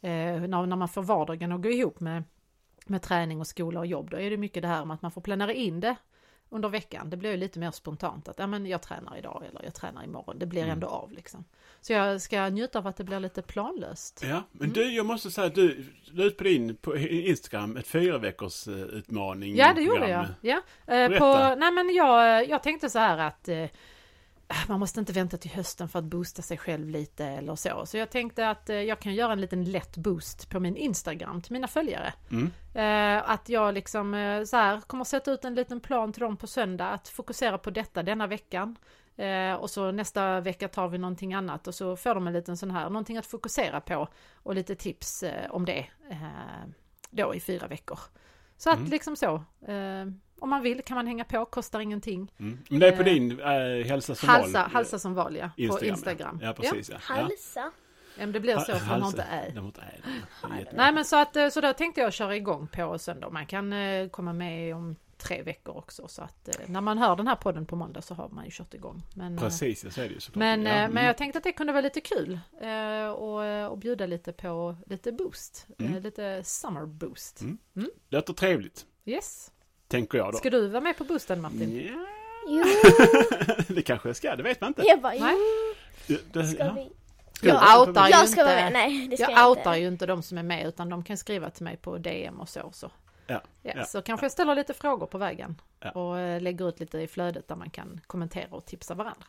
S2: Eh, när, när man får vardagen att gå ihop med, med träning och skola och jobb, då är det mycket det här med att man får planera in det under veckan. Det blir ju lite mer spontant att ja, men jag tränar idag eller jag tränar imorgon. Det blir
S1: Mm.
S2: ändå av liksom. Så jag ska njuta av att det blir lite planlöst.
S1: Ja, men du, jag måste säga att du la ut på din på Instagram ett fyra veckors eh, utmaning.
S2: Ja, det gjorde jag.
S1: program.
S2: Ja. Eh,
S1: Berätta.
S2: på, nej, men jag, jag tänkte så här att eh, man måste inte vänta till hösten för att boosta sig själv lite eller så. Så jag tänkte att eh, jag kan göra en liten lätt boost på min Instagram till mina följare.
S1: Mm.
S2: Eh, att jag liksom eh, så här kommer sätta ut en liten plan till dem på söndag att fokusera på detta denna veckan. Eh, och så nästa vecka tar vi någonting annat och så får de en liten sån här, någonting att fokusera på och lite tips eh, om det eh, då i fyra veckor. Så att
S1: Mm.
S2: liksom så, eh, om man vill kan man hänga på, kostar ingenting.
S1: Mm. Men det är på
S2: Eh,
S1: din eh, Hälsa som
S2: halsa,
S1: val.
S2: halsa som val ja, på
S1: ja.
S2: Instagram.
S1: Ja, precis. Ja. Ja.
S3: Halsa.
S2: Ja, men det blir så för man har
S1: Halsa.
S2: inte ä.
S1: De har inte ä. Det är jättebra.
S2: Nej men så att, eh, så då tänkte jag köra igång på söndag. Man kan eh, komma med om tre veckor också så att eh, när man hör den här podden på måndag så har man ju kört igång. Men, eh,
S1: Precis, ja, så är det ju såklart.
S2: men,
S1: ja.
S2: eh,
S1: mm.
S2: men jag tänkte att det kunde vara lite kul eh, och, och
S1: Mm.
S2: bjuda lite på lite boost, eh, lite summer boost.
S1: Låter trevligt.
S2: Yes.
S1: Tänker jag då.
S2: Ska du vara med på bussen Martin?
S1: Ja,
S3: Jo,
S1: det kanske jag ska, det vet man inte.
S3: jag bara,
S2: Nej.
S3: jo,
S1: Det- det-
S3: ska
S1: ja.
S3: vi?
S1: Ska
S2: Jag
S1: du-
S2: outar ju
S3: Jag ska vara med.
S2: inte,
S3: Nej, det ska
S2: jag
S3: inte.
S2: outar ju inte de som är med utan de kan skriva till mig på DM och så. så.
S1: Ja,
S2: Ja,
S1: ja.
S2: Så kanske jag ställer lite frågor på vägen
S1: Ja.
S2: och eh, lägger ut lite i flödet där man kan kommentera och tipsa varandra.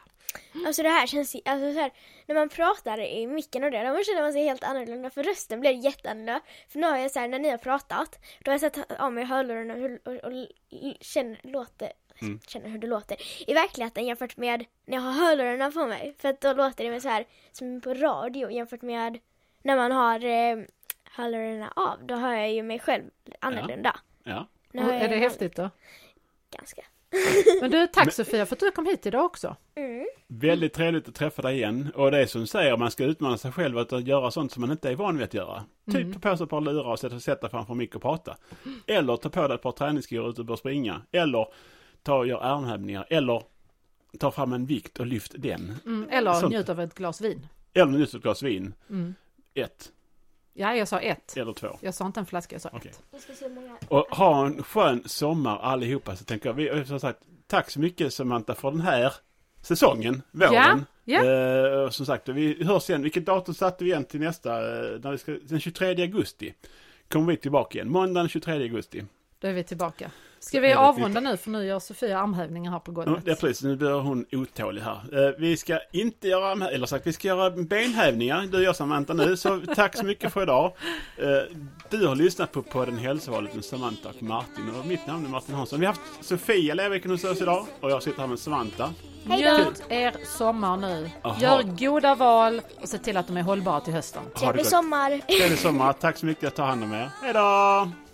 S3: Alltså det här känns, alltså så här, när man pratar i micken och det, då känner man sig helt annorlunda för rösten blir jätteannorlunda. För nu har jag så här, när ni har pratat, då har jag satt av mig hörlurarna och, hur- och, och l- känner, låter,
S1: Mm.
S3: känner hur det låter i verkligheten jämfört med när jag har hörlurarna på mig. För att då låter det mer så här som på radio jämfört med när man har eh, hörlurarna av. Då hör jag ju mig själv annorlunda.
S1: ja.
S3: Nu har jag
S2: är det
S3: ju
S2: häftigt då?
S3: Ganska.
S2: Men du, tack
S1: Men-
S2: Sofia för att du kom hit idag också.
S3: Mm.
S1: Väldigt trevligt att träffa dig igen. Och det är som du säger, man ska utmana sig själv att göra sånt som man inte är van vid att göra.
S2: Mm.
S1: Typ ta på sig ett par lurar och sätta, sätta framför en mick och prata. Eller ta på dig ett par träningsskor ute och börja springa. Eller ta och gör armhävningar. Eller ta fram en vikt och lyft den.
S2: Mm, eller
S1: Sånt.
S2: njut av ett glas vin.
S1: Eller nyss ett glas vin.
S2: Mm.
S1: Ett
S2: Ja, jag sa ett.
S1: eller två.
S2: Jag sa inte en flaska, jag sa
S1: Okej.
S2: ett.
S3: Jag ska se hur många
S1: Och ha en skön sommar allihopa så tänker jag. Vi, och som sagt, tack så mycket Samantha för den här säsongen, våren.
S2: Ja, ja.
S1: Eh, och som sagt, vi hörs igen. Vilket datum satte vi igen till nästa? eh, När vi ska, den 23 augusti kommer vi tillbaka igen. Måndagen den 23 augusti.
S2: Då är vi tillbaka. Ska
S1: Är
S2: vi
S1: det
S2: avrunda nu för nu gör Sofia armhävningar här på
S1: Ja,
S2: golvet.
S1: det är precis, nu blir hon otålig här. Eh, Vi ska inte göra, armhä- eller sagt, vi ska göra benhävningar. Du gör Samantha nu, så tack så mycket för idag. Eh, Du har lyssnat på podden Hälsovalet med Samantha och Martin och mitt namn är Martin Hansson. Vi har haft Sofia Levecken hos oss idag och jag sitter här med Samantha.
S2: Njut er sommar nu.
S1: Aha.
S2: Gör goda val och se till att de är hållbara till hösten.
S1: Ha det
S3: Trevlig
S1: gott.
S3: sommar!
S1: Trevlig sommar, tack så mycket, ta hand om er. Hej då!